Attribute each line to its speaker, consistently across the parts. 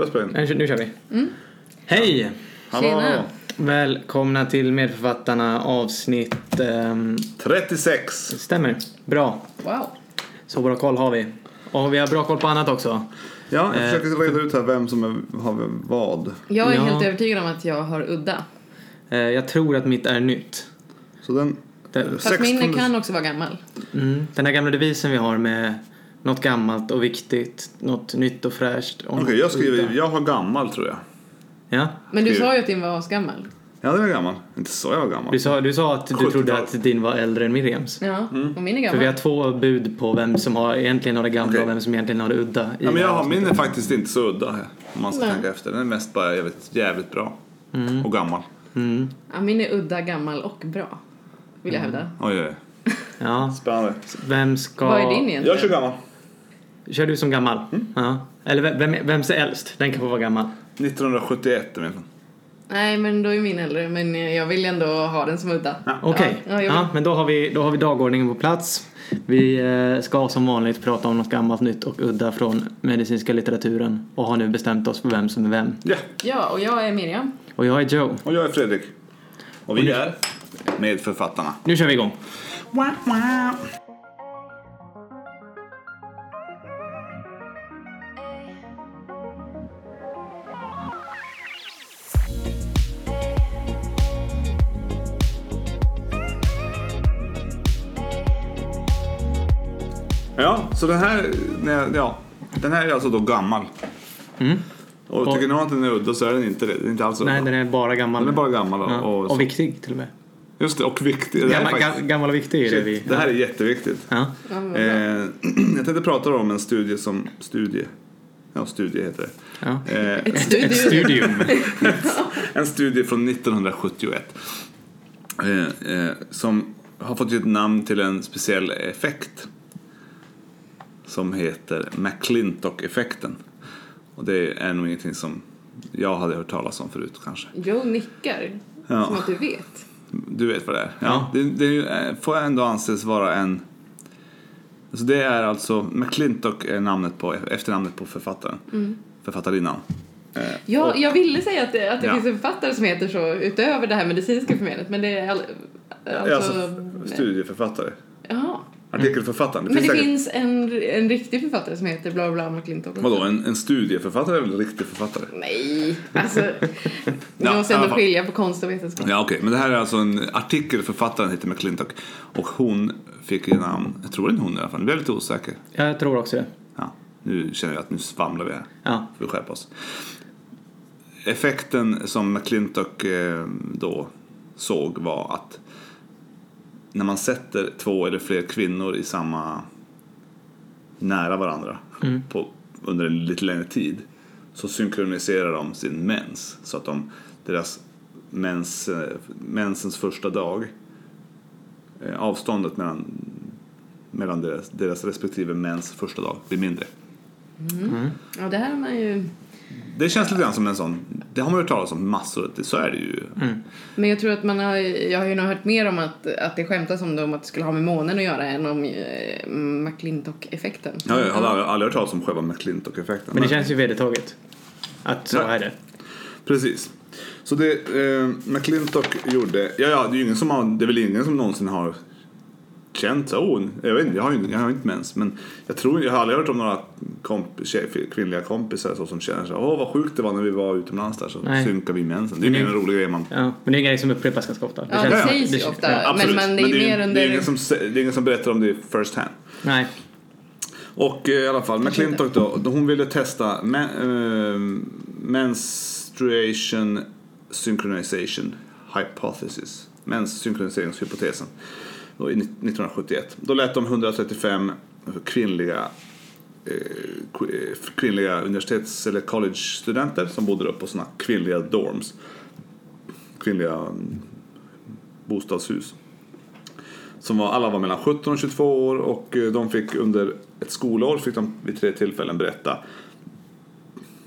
Speaker 1: Röstböjen.
Speaker 2: Nu kör vi.
Speaker 3: Mm.
Speaker 2: Hej!
Speaker 1: Hallå!
Speaker 3: Eh, Tjena.
Speaker 2: Välkomna till Medförfattarna avsnitt... ehm,
Speaker 1: 36.
Speaker 2: stämmer. Bra.
Speaker 3: Wow.
Speaker 2: Så bra koll har vi. Och vi har bra koll på annat också.
Speaker 1: Ja,
Speaker 2: Eh.
Speaker 1: jag försökte reda ut här vem som är, har vad.
Speaker 3: Jag är
Speaker 2: Ja.
Speaker 3: helt övertygad om att jag har udda.
Speaker 2: Eh, jag tror att mitt är nytt.
Speaker 1: Så den...
Speaker 2: Den,
Speaker 3: Fast min kan också vara gammal.
Speaker 2: mm, den här gamla devisen vi har med något gammalt och viktigt, något nytt och fräscht. och
Speaker 1: Okej,
Speaker 2: något
Speaker 1: jag skriver
Speaker 2: udda.
Speaker 1: jag har gammal tror jag.
Speaker 2: Ja.
Speaker 3: Men du
Speaker 1: Skriver.
Speaker 3: sa ju att din var asgammal.
Speaker 1: Ja, den är gammal. Inte så jag var gammal.
Speaker 2: Du sa, du sa att du trodde
Speaker 1: 70-tal.
Speaker 2: att din var äldre än Miriams.
Speaker 3: Ja, och min är
Speaker 2: För
Speaker 3: gammal.
Speaker 2: vi har två bud på vem som har, egentligen har det gamla
Speaker 1: Okej.
Speaker 2: och vem som egentligen har det udda. i
Speaker 1: Ja, men
Speaker 2: det
Speaker 1: jag
Speaker 2: här
Speaker 1: har, min är faktiskt inte så udda här, om man ska
Speaker 3: Nej. Mm.
Speaker 1: tänka efter. Den är mest bara jävligt, jävligt bra. Och gammal.
Speaker 3: Ja, min är udda, gammal och bra. Vill jag hävda.
Speaker 1: Oj, oj, oj.
Speaker 2: Ja,
Speaker 1: Spännande.
Speaker 2: vem ska...
Speaker 3: Vad är din
Speaker 1: Jag kör
Speaker 3: egentligen?
Speaker 1: gammal.
Speaker 2: Kör du som gammal?
Speaker 3: Mm.
Speaker 2: Ja. Eller vem, vem, vem är äldst? Den kan få vara gammal.
Speaker 1: 1971 är min.
Speaker 3: Nej, men då är min äldre. Men jag vill ändå ha den som udda. Ja.
Speaker 2: Okej,
Speaker 3: Ja, jag
Speaker 2: ja,
Speaker 3: vill-
Speaker 2: men då har, vi, då har vi dagordningen på plats. Vi eh, ska som vanligt prata om något gammalt, nytt och udda från medicinska litteraturen och har nu bestämt oss för vem som är vem.
Speaker 1: Ja,
Speaker 3: och jag är Miriam.
Speaker 2: Och jag är Joe.
Speaker 1: och jag är Fredrik. Och vi är medförfattarna.
Speaker 2: Nu kör vi igång.
Speaker 1: Ja, så den här, nej, ja, den här är alltså då gammal. Och, tycker någon att den är udda så är den inte det. Den är inte alls udda.
Speaker 2: Mm. Nej, den är bara gammal.
Speaker 1: Den är bara gammal och,
Speaker 2: ja.
Speaker 1: och,
Speaker 2: och,
Speaker 1: så.
Speaker 2: viktig till och med.
Speaker 1: Just det, och viktig. Det här, är
Speaker 2: Gammal,
Speaker 1: faktiskt,
Speaker 2: ga- gammal och viktig är det vi...
Speaker 1: shit, det här är jätteviktigt.
Speaker 2: Ja.
Speaker 3: Ja, vad
Speaker 1: Eh,
Speaker 3: bra.
Speaker 1: jag tänkte prata om en studie som... Studie? Ja, studie heter
Speaker 2: Ja.
Speaker 1: det. Eh,
Speaker 3: Ett studio.
Speaker 2: Ett studium.
Speaker 1: En studie från 1971 eh, eh, som har fått ett namn till en speciell effekt som heter McClintock-effekten. Och det är nog ingenting som jag hade hört talas om förut kanske.
Speaker 3: Joe nickar.
Speaker 1: Ja.
Speaker 3: Som att du vet.
Speaker 1: Du vet vad det är?
Speaker 2: Ja.
Speaker 1: Det, det är ju, eh, får ändå anses vara en... Alltså det är alltså, McClintock är namnet på, efternamnet på författaren.
Speaker 3: Mm.
Speaker 1: Författarinnan. Eh,
Speaker 3: Ja, jag ville säga att det, att det
Speaker 1: Ja.
Speaker 3: finns en författare som heter så utöver det här medicinska förmedlet. Men det är all, alltså...
Speaker 1: Alltså, studieförfattare.
Speaker 3: Jaha.
Speaker 1: Artikelförfattaren.
Speaker 3: Men det
Speaker 1: säkert-
Speaker 3: finns en, en riktig författare som heter bla bla McClintock.
Speaker 1: Vadå, en, en studieförfattare är väl en riktig författare?
Speaker 3: Nej, alltså. Vi
Speaker 1: Ja,
Speaker 3: måste
Speaker 1: i alla
Speaker 3: ändå
Speaker 1: fall.
Speaker 3: skilja på konst och vetenskap.
Speaker 1: Ja, okej. Men det här är alltså en artikel författaren heter McClintock. Och hon fick ju namn, jag tror det är en hon i alla fall, nu blev jag lite osäker.
Speaker 2: Jag tror också det.
Speaker 1: Ja, nu känner jag att nu svamlar vi här.
Speaker 2: Ja.
Speaker 1: Får vi skärpa oss. Effekten som McClintock eh, då såg var att när man sätter två eller fler kvinnor i samma nära varandra på, under en lite längre tid så synkroniserar de sin mens så att de, deras mens, eh, mensens första dag eh, avståndet mellan, mellan deras, deras respektive mens första dag blir mindre.
Speaker 3: Ja, det här har man ju...
Speaker 1: Det känns lite grann som en sån, det har man ju hört talas om massor, det, så är det ju.
Speaker 3: Men jag tror att man har... Jag har ju nog hört mer om att, att det skämtas om det, om att det skulle ha med månen att göra än om eh, McClintock-effekten.
Speaker 1: Ja, jag har aldrig, aldrig hört talas om själva McClintock-effekten.
Speaker 2: Men det
Speaker 1: Men-
Speaker 2: känns ju vedertaget. Att så
Speaker 1: Ja.
Speaker 2: är det.
Speaker 1: Precis. Så det eh, McClintock gjorde, ja, ja det, är ju ingen som har, det är väl ingen som någonsin har känt så, oh, jag vet inte, jag har ju jag har ju inte mens, men jag tror, jag har aldrig hört om några komp, tjej, kvinnliga kompisar så, som känner så här, åh vad sjukt det var när vi var utomlands där så
Speaker 2: Nej.
Speaker 1: synkade vi mensen. Det är ju
Speaker 2: Men
Speaker 1: en rolig grej man
Speaker 2: Ja. Men det är en grej som upprepas ganska ofta.
Speaker 3: Ja,
Speaker 2: känns-
Speaker 3: det sägs ju ofta.
Speaker 2: ja.
Speaker 1: Absolut.
Speaker 3: men det är
Speaker 1: ju-
Speaker 3: mer
Speaker 1: det,
Speaker 3: under-
Speaker 1: är ingen som, sä- det är ingen som berättar om det first hand.
Speaker 2: Nej.
Speaker 1: Och eh, i alla fall, McClintock då, då hon ville testa men, eh, menstruation synchronization hypothesis. Menssynkroniseringshypotesen. Då i ni- 1971. Då lät de 135 kvinnliga eh, qu- eh, kvinnliga universitets eller college-studenter som bodde då på såna kvinnliga dorms. Kvinnliga mm, bostadshus som var, alla var mellan 17 och 22 år och eh, de fick under ett skolår fick de vid tre tillfällen berätta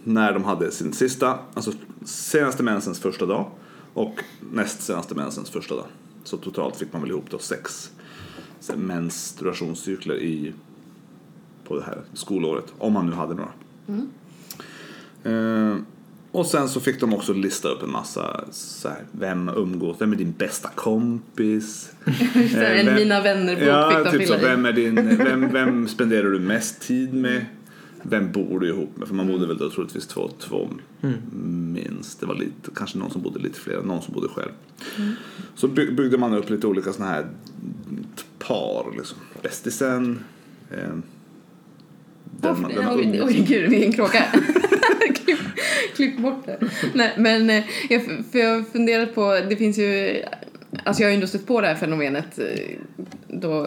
Speaker 1: när de hade sin sista, alltså senaste mensens första dag och näst senaste mensens första dag. Så totalt fick man väl ihop då sex
Speaker 3: Mm.
Speaker 1: menstruationscykler i, på det här skolåret, om man nu hade några. Eh, och sen så fick de också lista upp en massa så här, vem umgås, vem är din bästa kompis?
Speaker 3: Så här, en
Speaker 1: vem-
Speaker 3: Mina vänner-bok
Speaker 1: Eh,
Speaker 3: fick
Speaker 1: Ja,
Speaker 3: de
Speaker 1: typ så,
Speaker 3: fylla i.
Speaker 1: vem, är din, vem, vem spenderar du mest tid med? Vem bor du ihop med? För man bodde väl då troligtvis två, två minst. Det var lite, kanske någon som bodde lite fler, någon som bodde själv. Så by- byggde man upp lite olika sådana här par, liksom. bästisen. Eh, den man- den man
Speaker 3: Oj,
Speaker 1: umgås
Speaker 3: oj, gud, vilken kråka. klipp, klipp bort det. Nej, men eh, jag, för jag har funderat på, det finns ju, alltså jag har ju ändå stött på det här fenomenet eh, då,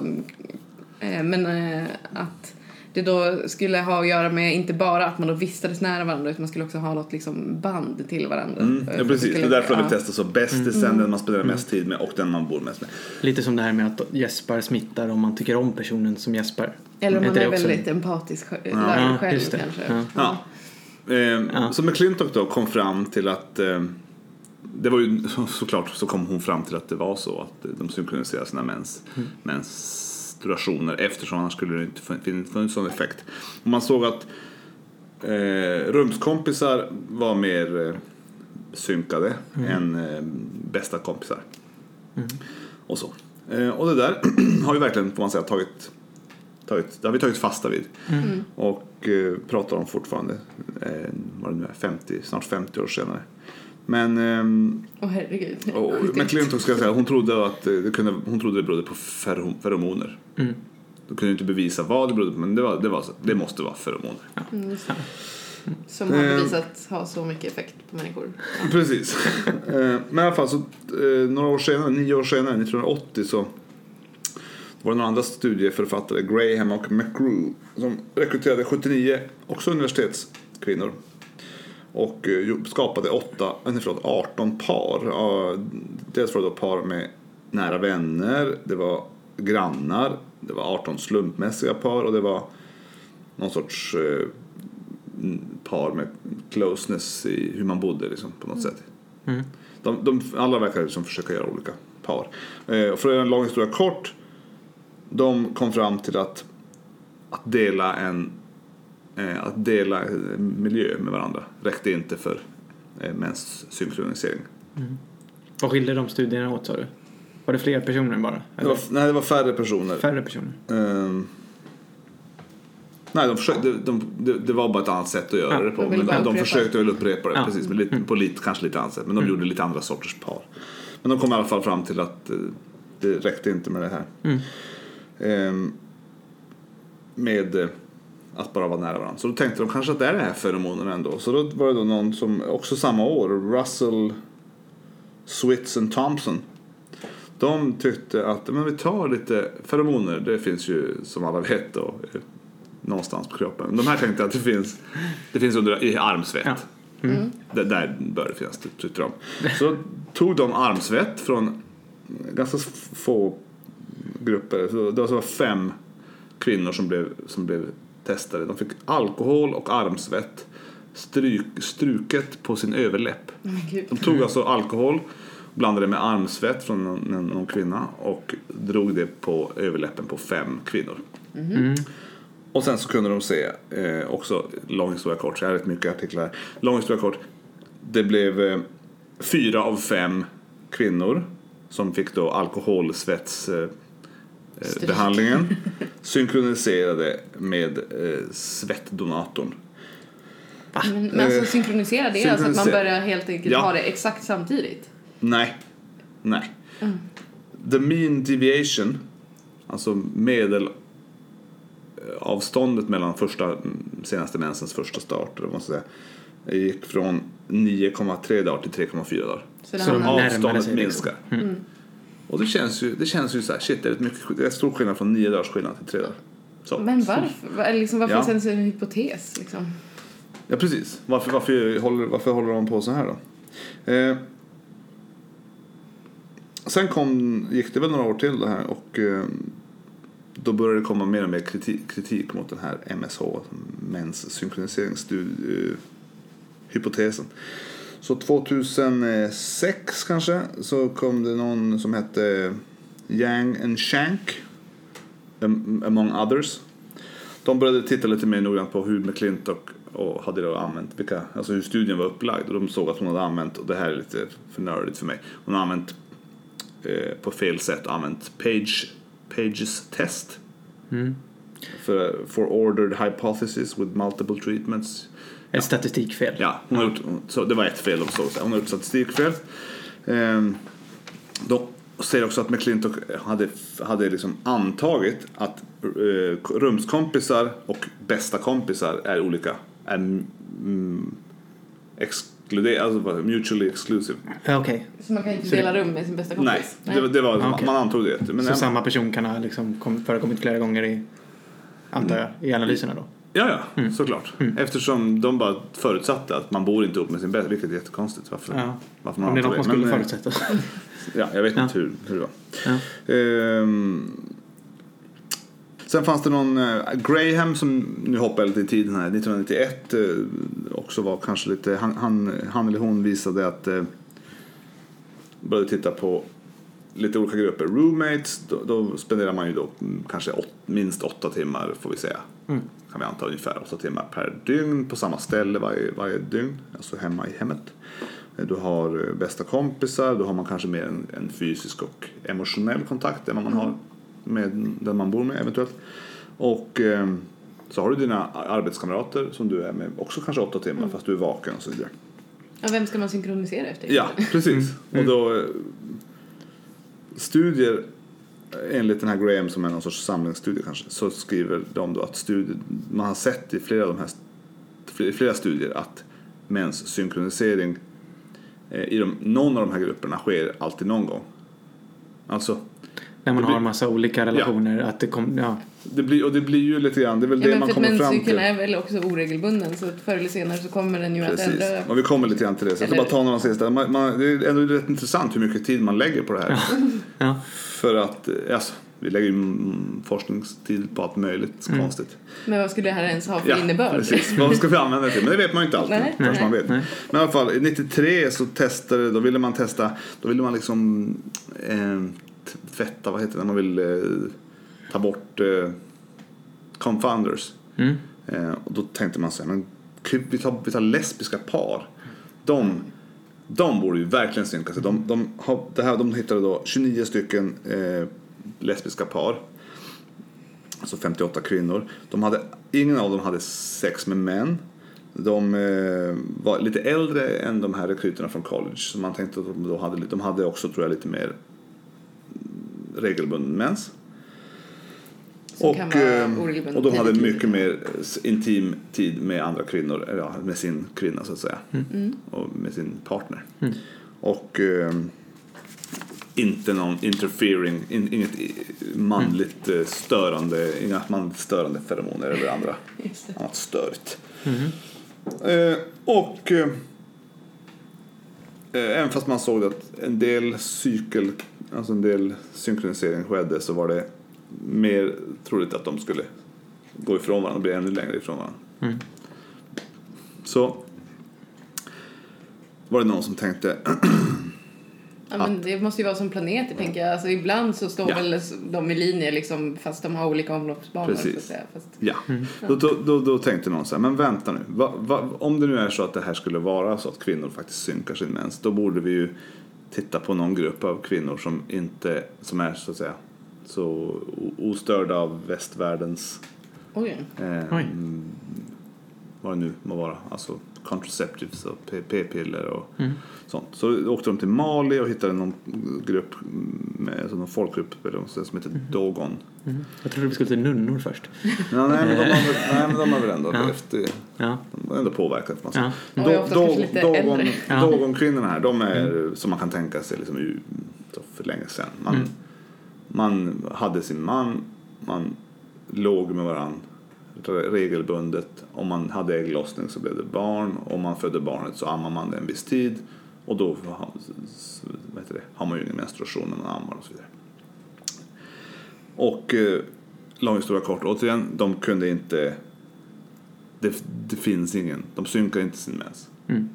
Speaker 3: eh, men eh, att det då skulle ha att göra med inte bara att man då vistades nära varandra utan man skulle också ha något liksom band till varandra. Eh,
Speaker 1: Mm, ja, precis. Det
Speaker 3: Skulle-
Speaker 1: är därför de vill
Speaker 3: ja.
Speaker 1: testa så. Bästisen, den man spenderar mest tid med och den man bor mest med.
Speaker 2: Lite som det här med att gäspar smittar om man tycker om personen som gäspar.
Speaker 3: Eller om man
Speaker 2: Heter
Speaker 3: är
Speaker 2: det också-
Speaker 3: väldigt empatisk sj-
Speaker 2: Ja,
Speaker 3: lärd själv
Speaker 2: just det.
Speaker 3: kanske.
Speaker 2: Ja.
Speaker 1: Ja. Ehm, Så McClintock då kom fram till att ehm, det var ju så- såklart så kom hon fram till att det var så att de synkroniserade sina mens, menstruationer eftersom annars skulle det inte fun- fin- funnits sån effekt. Och man såg att eh, rumskompisar var mer eh, synkade än eh, bästa kompisar. Och så. Eh, och det där har ju verkligen får man säga tagit, tagit, det har vi tagit fasta vid.
Speaker 3: Mm.
Speaker 1: Och eh, pratar om fortfarande, eh, vad det nu är, 50, snart 50 år senare. Men ehm,
Speaker 3: Åh herregud.
Speaker 1: och McClintock ska jag säga, hon trodde att eh, det, kunde, hon trodde det berodde på ferho- feromoner.
Speaker 2: Mm.
Speaker 1: De kunde inte bevisa vad det berodde på men det, var, det, var så, det måste vara feromoner.
Speaker 3: Mm, just det. Som har
Speaker 1: Eh.
Speaker 3: bevisat ha så mycket effekt på människor.
Speaker 1: Precis. Eh, Men i alla fall så eh, några år senare, nio år senare, 1980 så var det några andra studieförfattare, Graham och McGrew, som rekryterade 79, också universitetskvinnor. Och eh, jo- skapade åtta, eh, nej, förlåt, 18 par. Ja, Dels var det då par med nära vänner, det var grannar, det var 18 slumpmässiga par och det var någon sorts eh, par med closeness i hur man bodde liksom, på något sätt.
Speaker 2: Mm.
Speaker 1: De, de, alla verkar liksom försöka göra olika par. Eh, och för att göra en lång historia kort. De kom fram till att, att dela en eh, att dela eh, miljö med varandra räckte inte för eh, mäns synkronisering.
Speaker 2: Vad skiljer de studierna åt sa du? Var det fler personer bara?
Speaker 1: Det var,
Speaker 2: Eller
Speaker 1: nej, det var färre personer.
Speaker 2: färre personer?
Speaker 1: Ehm, nej, de försökte, de, de, det- det var bara ett annat sätt att göra
Speaker 2: Ja,
Speaker 1: det på.
Speaker 3: de ville
Speaker 1: men
Speaker 3: bara
Speaker 1: de, de
Speaker 3: upprepa.
Speaker 1: försökte väl upprepa det,
Speaker 2: Ja. Mm.
Speaker 1: precis, men lite, på lite, kanske lite annat sätt. Men de gjorde lite andra sorters par. Men de kom i alla fall fram till att eh, det räckte inte med det här.
Speaker 2: Mm.
Speaker 1: Ehm, med eh, att bara vara nära varandra. Så då tänkte de kanske att det är det här feromonen ändå. Så då var det då någon som, också samma år, Russell Switz and Thompson. De tyckte att men vi tar lite feromoner, det finns ju som alla vet då eh, någonstans på kroppen. De här tänkte att det finns, det finns under, i armsvett.
Speaker 2: Ja.
Speaker 1: Där, där bör det finnas, tyckte de. Så tog de armsvett från ganska få grupper. Så Det var så fem kvinnor som blev, som blev testade. De fick alkohol och armsvett stryk, struket på sin överläpp.
Speaker 3: Men gud.
Speaker 1: De tog alltså alkohol, blandade med armsvett från någon, någon- någon kvinna och drog det på överläppen på fem kvinnor. Och sen så kunde de se, eh, också lång historia kort, så jag har rätt mycket artiklar här. Lång historia kort, det blev eh, fyra av fem kvinnor som fick då alkoholsvets eh, eh,
Speaker 3: Stryk.
Speaker 1: behandlingen synkroniserade med eh, svettdonatorn.
Speaker 3: Men, men alltså synkronisera det är alltså att man
Speaker 1: Eh, synkronisera.
Speaker 3: börjar helt enkelt
Speaker 1: Ja.
Speaker 3: ha det exakt samtidigt.
Speaker 1: Nej. Nej. The mean deviation, alltså medelavståndet mellan första, senaste mensens första start, eller vad man ska säga, gick från 9,3 dagar till 3,4 dagar.
Speaker 3: Så, det
Speaker 2: Så de
Speaker 3: hamnar-
Speaker 2: närmare
Speaker 1: Avståndet
Speaker 2: sig, liksom.
Speaker 1: minskar. Och det känns ju, det känns ju så här, shit, det är, rätt mycket, det är stor skillnad från 9 dagars skillnad till 3 dagar. Så.
Speaker 3: Men varför? Va- Liksom, varför
Speaker 1: Ja.
Speaker 3: finns det ens en hypotes? Liksom?
Speaker 1: Ja, precis. Varför, varför, håller, varför håller de på så här då? Eh, sen kom, gick det väl några år till det här och eh, då började det komma mer och mer kritik, kritik mot den här MSH, mäns synkroniseringsstudie, eh, hypotesen. Så 2006 kanske så kom det någon som hette Yang and Shank am- among others. De började titta lite mer noggrant på hur McClintock och hade då använt, vilka, alltså hur studien var upplagd och de såg att hon hade använt, och det här är lite för nördigt för mig, hon har använt eh, på fel sätt använt page, pages test. För, for ordered hypothesis with multiple treatments.
Speaker 2: Ett statistikfel.
Speaker 1: Ja, hon har gjort, så det var ett fel de såg. så här. Hon har gjort statistikfel. Ehm, de säger också att McClintock hade, hade liksom antagit att eh, rumskompisar och bästa kompisar är olika. Är mm, exkluder, alltså vad- mutually exclusive.
Speaker 2: Ja, Okej,
Speaker 3: Så man kan inte
Speaker 2: Så det-
Speaker 3: dela rum med sin bästa
Speaker 1: Nej,
Speaker 3: kompis?
Speaker 1: det, var- det var,
Speaker 2: Okej.
Speaker 1: man antog det. Men
Speaker 2: så samma person kan ha liksom kom, förekommit flera gånger i, antar jag, i
Speaker 1: Mm.
Speaker 2: analyserna då?
Speaker 1: Ja, ja,
Speaker 2: Mm.
Speaker 1: såklart. Eftersom de bara förutsatte att man bor inte ihop med sin bästa, vilket är jättekonstigt. Varför,
Speaker 2: Ja.
Speaker 1: varför
Speaker 2: Om det är något man
Speaker 1: antar
Speaker 2: skulle
Speaker 1: Men, eh,
Speaker 2: förutsätta.
Speaker 1: Ja, jag vet
Speaker 2: Ja.
Speaker 1: inte hur, hur det var.
Speaker 2: ja.
Speaker 1: Ehm, sen fanns det någon eh, Graham som nu hoppar jag lite i tiden här, 1991 eh, också var kanske lite, han, han, han eller hon visade att eh, började titta på lite olika grupper. Roommates, då, då spenderar man ju då mm, kanske åt, minst åtta timmar får vi säga. Kan vi anta ungefär åtta timmar per dygn på samma ställe varje, varje dygn. Alltså hemma i hemmet. Eh, Du har eh, bästa kompisar, då har man kanske mer en, en fysisk och emotionell kontakt än vad man har med den man bor med eventuellt. Och eh, så har du dina arbetskamrater som du är med också kanske åtta timmar fast du är vaken och så vidare.
Speaker 3: Ja, vem ska man synkronisera efter?
Speaker 1: Ja, precis.
Speaker 3: Mm.
Speaker 1: Och då eh, studier eh, enligt den här Graham som är någon sorts samlingsstudie kanske så skriver de då att studier, man har sett i flera av de här st- i flera studier att mäns synkronisering eh, i de, någon av de här grupperna sker alltid någon gång. Alltså,
Speaker 2: När man
Speaker 1: Det blir-
Speaker 2: har en massa olika relationer. Att det kom, ja.
Speaker 1: det blir, och det blir ju lite grann, det är väl
Speaker 3: Ja,
Speaker 1: det
Speaker 3: men
Speaker 1: man
Speaker 3: för att
Speaker 1: kommer fram
Speaker 3: menscykeln
Speaker 1: till.
Speaker 3: är väl också oregelbunden så att förr eller senare så kommer den ju att
Speaker 1: Precis,
Speaker 3: ändra.
Speaker 1: och vi kommer lite grann till det. Så jag ska
Speaker 3: Eller-
Speaker 1: bara ta några sista. Man, man, det är ändå rätt intressant hur mycket tid man lägger på det här.
Speaker 2: Ja.
Speaker 1: För att, eh, alltså, vi lägger ju mm, forskningstid på allt möjligt
Speaker 2: Mm.
Speaker 1: konstigt.
Speaker 3: Men vad skulle det här ens ha för innebörd?
Speaker 1: precis. Vad ska vi använda det till? Men det vet man ju inte alltid.
Speaker 3: Nej,
Speaker 1: fast
Speaker 3: nej.
Speaker 1: man vet.
Speaker 2: Nej.
Speaker 1: Men i alla fall, 93 så testade, då ville man testa, då ville man liksom eh, t- tvätta, vad heter det, när man vill eh, ta bort eh, confounders.
Speaker 2: Mm.
Speaker 1: Eh, och då tänkte man så här, men gud, vi tar, vi tar lesbiska par. De, de borde ju verkligen synka sig. De, de, har, det här, de hittade då 29 stycken eh, lesbiska par. Alltså 58 kvinnor. De hade, ingen av dem hade sex med män. De eh, var lite äldre än de här rekryterna från college. Så man tänkte att de, då hade, lite- de hade också tror jag lite mer mm, regelbunden mens.
Speaker 3: Som kan vara
Speaker 1: ehm,
Speaker 3: oregelbunden
Speaker 1: och de hade
Speaker 3: tid.
Speaker 1: mycket mer eh, intim tid med andra kvinnor, eller ja, med sin kvinna så att säga.
Speaker 3: Mm.
Speaker 1: Och med sin partner. Och ehm, inte någon interfering, in, inget i- manligt eh, störande, inga manligt störande feromoner eller andra,
Speaker 3: Just det.
Speaker 1: annat störigt. Eh, och eh, eh, även fast man såg att en del cykel, alltså en del synkronisering skedde så var det mer troligt att de skulle gå ifrån varandra och bli ännu längre ifrån varandra. Så var det någon som tänkte
Speaker 3: Ja, men det måste ju vara som planeter tänker jag. Alltså, ibland så står
Speaker 1: Ja.
Speaker 3: väl de i linje liksom, fast de har olika omloppsbanor. Så att
Speaker 1: Precis.
Speaker 3: säga. Fast,
Speaker 1: Ja,
Speaker 2: Mm.
Speaker 1: då, då, då, då tänkte någon så här, men vänta nu. Va, va, om det nu är så att det här skulle vara så att kvinnor faktiskt synkar sin mens, då borde vi ju titta på någon grupp av kvinnor som inte, som är så att säga så o- ostörda av västvärldens,
Speaker 3: oj.
Speaker 1: eh,
Speaker 2: Oj.
Speaker 1: vad det nu må vara, alltså contraceptives och p- p-piller och
Speaker 2: Mm.
Speaker 1: sånt. Så åkte de till Mali och hittade någon grupp, med, alltså någon folkgrupp eller något sånt som heter
Speaker 2: Mhm.
Speaker 1: Dogon.
Speaker 2: Mm. Jag trodde vi skulle till nunnor först.
Speaker 1: Ja, nej, men de har, väl- nej men de har väl ändå
Speaker 2: Ja.
Speaker 1: efter
Speaker 2: Ja.
Speaker 1: de har ändå påverkat. Man
Speaker 2: Ja.
Speaker 3: Och är oftast kanske lite äldre.
Speaker 2: Ja. Mm.
Speaker 1: Dogonkvinnorna här, de är som man kan tänka sig liksom, u- så för länge sedan. Man, man hade sin man, man låg med varandra regelbundet. Om man hade ägglossning så blev det barn. Om man födde barnet så ammar man det en viss tid. Och då har- s- vad heter det, har man ju ingen menstruation när man ammar och så vidare. Och eh, lång historia kort, återigen, de kunde inte det, det finns ingen. De synkar inte sin mens.
Speaker 2: Mm.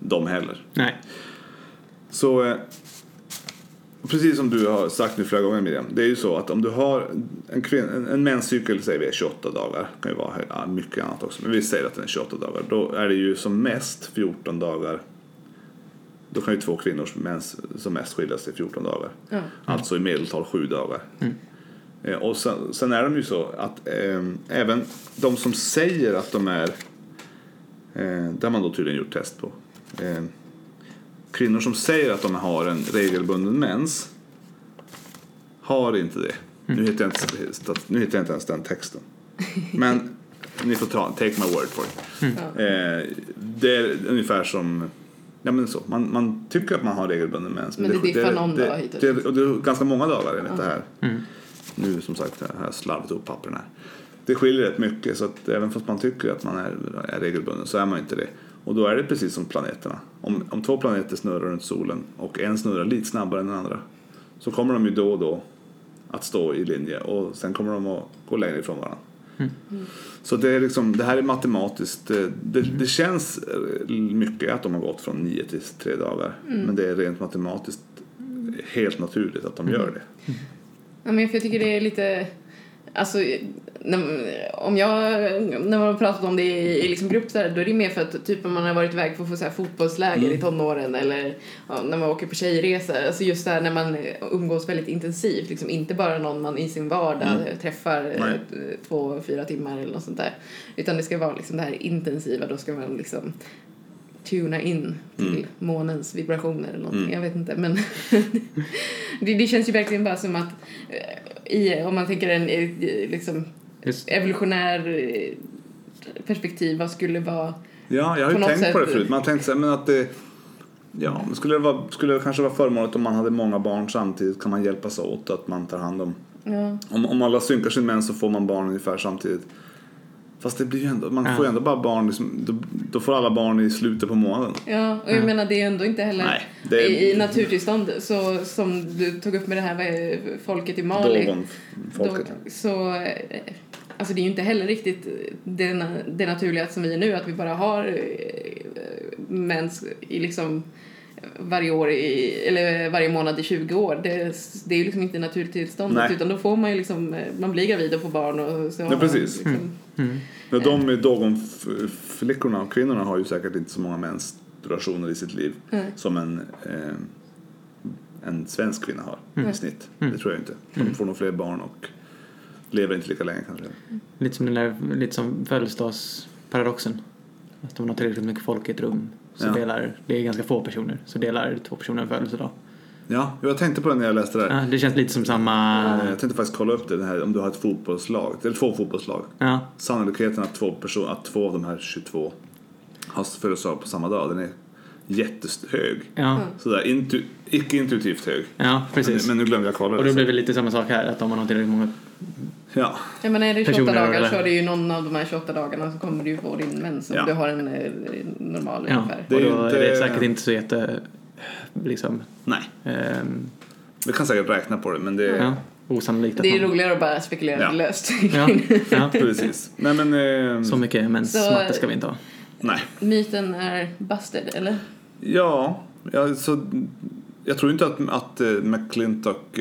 Speaker 1: De heller.
Speaker 2: Nej.
Speaker 1: Så eh, precis som du har sagt nu flera gånger Miriam, det är ju så att om du har en, kvin- en, en menscykel säger vi är 28 dagar, det kan ju vara ja, mycket annat också, men vi säger att den är 28 dagar, då är det ju som mest 14 dagar då kan ju två kvinnors mens som mest skilja sig 14 dagar.
Speaker 3: Ja.
Speaker 1: Alltså i medeltal 7 dagar. Eh, Och sen, sen är de ju så att eh, även de som säger att de är, eh, det har man då tydligen gjort test på, eh, kvinnor som säger att de har en regelbunden mens har inte det. Nu, hittar jag inte, stat- nu hittar jag inte ens den texten. Men ni får ta, take my word for it. Eh, det är ungefär som Ja, men så. Man, man tycker att man har regelbunden mens.
Speaker 3: Men det diffar någon
Speaker 1: det,
Speaker 3: dag hit och
Speaker 1: det, och det är ganska många dagar enligt det här. Nu som sagt har jag slarvat ihop pappren här. Det skiljer rätt mycket så att även fast man tycker att man är, är regelbunden så är man inte det. Och då är det precis som planeterna. Om, om två planeter snurrar runt solen och en snurrar lite snabbare än den andra så kommer de ju då och då att stå i linje och sen kommer de att gå längre ifrån varandra. Så det, är liksom, det här är matematiskt. eh, Det, det känns eh, mycket att de har gått från nio till tre dagar. Men det är rent matematiskt helt naturligt att de gör det.
Speaker 3: Ja, men för jag tycker det är lite... Alltså, när, om jag, när man har pratat om det i, i liksom grupp så här, då är det mer för att typ om man har varit iväg på få så här, fotbollsläger i tonåren eller ja, när man åker på tjejresor. Alltså just där när man umgås väldigt intensivt, liksom, inte bara någon man i sin vardag träffar eh,
Speaker 1: Nej.
Speaker 3: två, fyra timmar eller något sånt där. Utan det ska vara liksom det här intensiva, då ska man liksom tuna in till
Speaker 1: Mm.
Speaker 3: månens vibrationer eller någonting. Jag vet inte men det, det känns ju verkligen bara som att eh, i, om man tänker en eh, liksom,
Speaker 2: Just,
Speaker 3: evolutionär eh, perspektiv, vad skulle vara
Speaker 1: Ja, jag har
Speaker 3: På
Speaker 1: ju
Speaker 3: något
Speaker 1: tänkt på det
Speaker 3: sätt-
Speaker 1: förut. Man har tänkt så här, men att det, ja, men skulle, det vara, skulle det kanske vara förmånligt om man hade många barn samtidigt kan man hjälpas åt att man tar hand om
Speaker 3: ja.
Speaker 1: Om, om alla synkar sin mens så får man barn ungefär samtidigt. Fast det blir ju ändå, man
Speaker 2: Ja.
Speaker 1: får ju ändå bara barn, liksom, då, då får alla barn i slutet på månaden.
Speaker 3: Ja, och jag menar det är ju ändå inte heller
Speaker 1: Mm. Nej, det är-
Speaker 3: i, i naturtillstånd så som du tog upp med det här med folket i Mali.
Speaker 1: Dogon, folket.
Speaker 3: Då, så, eh, alltså det är ju inte heller riktigt det, na- det naturliga som vi är nu, att vi bara har eh, mens i liksom varje år i, eller varje månad i 20 år. Det, det är ju liksom inte naturtillståndet
Speaker 1: Nej.
Speaker 3: utan då får man ju liksom, eh, man blir gravid och får barn och så. har man
Speaker 1: precis. Mm.
Speaker 3: Liksom,
Speaker 2: Mm.
Speaker 1: Men de dogonflickorna och kvinnorna har ju säkert inte så många menstruationer i sitt liv
Speaker 3: Nej.
Speaker 1: som en, eh, en svensk kvinna har
Speaker 2: Mm.
Speaker 1: i snitt. Det tror jag inte. De får nog fler barn och lever inte lika länge kanske.
Speaker 2: lite som den där lite som födelsedagsparadoxen. Att om man har tillräckligt mycket folk i ett rum så
Speaker 1: Ja.
Speaker 2: delar, det är ganska få personer, så delar två personer en födelsedag.
Speaker 1: Ja, jag tänkte på det när jag läste det här.
Speaker 2: Ja, det känns lite som samma...
Speaker 1: Eh, Jag tänkte faktiskt kolla upp det, det här, om du har ett fotbollslag, eller två fotbollslag.
Speaker 2: Ja,
Speaker 1: Sannolikheten att två, person, att två av de här 22 har födelsedag på samma dag, den är jättehög.
Speaker 2: ja,
Speaker 3: Mm.
Speaker 1: Sådär intu, icke-intuitivt hög.
Speaker 2: ja precis.
Speaker 1: Men, men nu glömde jag kolla
Speaker 2: och då
Speaker 1: det.
Speaker 2: blir det lite samma sak här, att om man har tillräckligt många...
Speaker 1: Ja,
Speaker 3: Ja, men är det 28
Speaker 2: Personer
Speaker 3: dagar
Speaker 2: eller-
Speaker 3: så är det ju någon av de här 28 dagarna så kommer du ju få din mens om
Speaker 1: Ja.
Speaker 3: du har en eh, normal
Speaker 2: Ja,
Speaker 3: ungefär.
Speaker 1: Det är
Speaker 2: och
Speaker 1: ju
Speaker 2: då
Speaker 1: inte-
Speaker 2: är det säkert inte så jätte... Liksom...
Speaker 1: nej.
Speaker 2: ehm,
Speaker 1: Vi kan säkert räkna på det, men det är
Speaker 2: ja, osannolikt att
Speaker 3: Det är
Speaker 2: man...
Speaker 3: roligare att bara spekulera
Speaker 1: Ja.
Speaker 3: löst.
Speaker 2: Ja, ja,
Speaker 1: precis. Nej, men eh,
Speaker 2: så mycket
Speaker 3: Så-
Speaker 2: mensmatte ska vi inte ha.
Speaker 1: nej.
Speaker 3: Myten är busted, eller?
Speaker 1: Ja, ja så, jag tror inte att, att eh, McClintock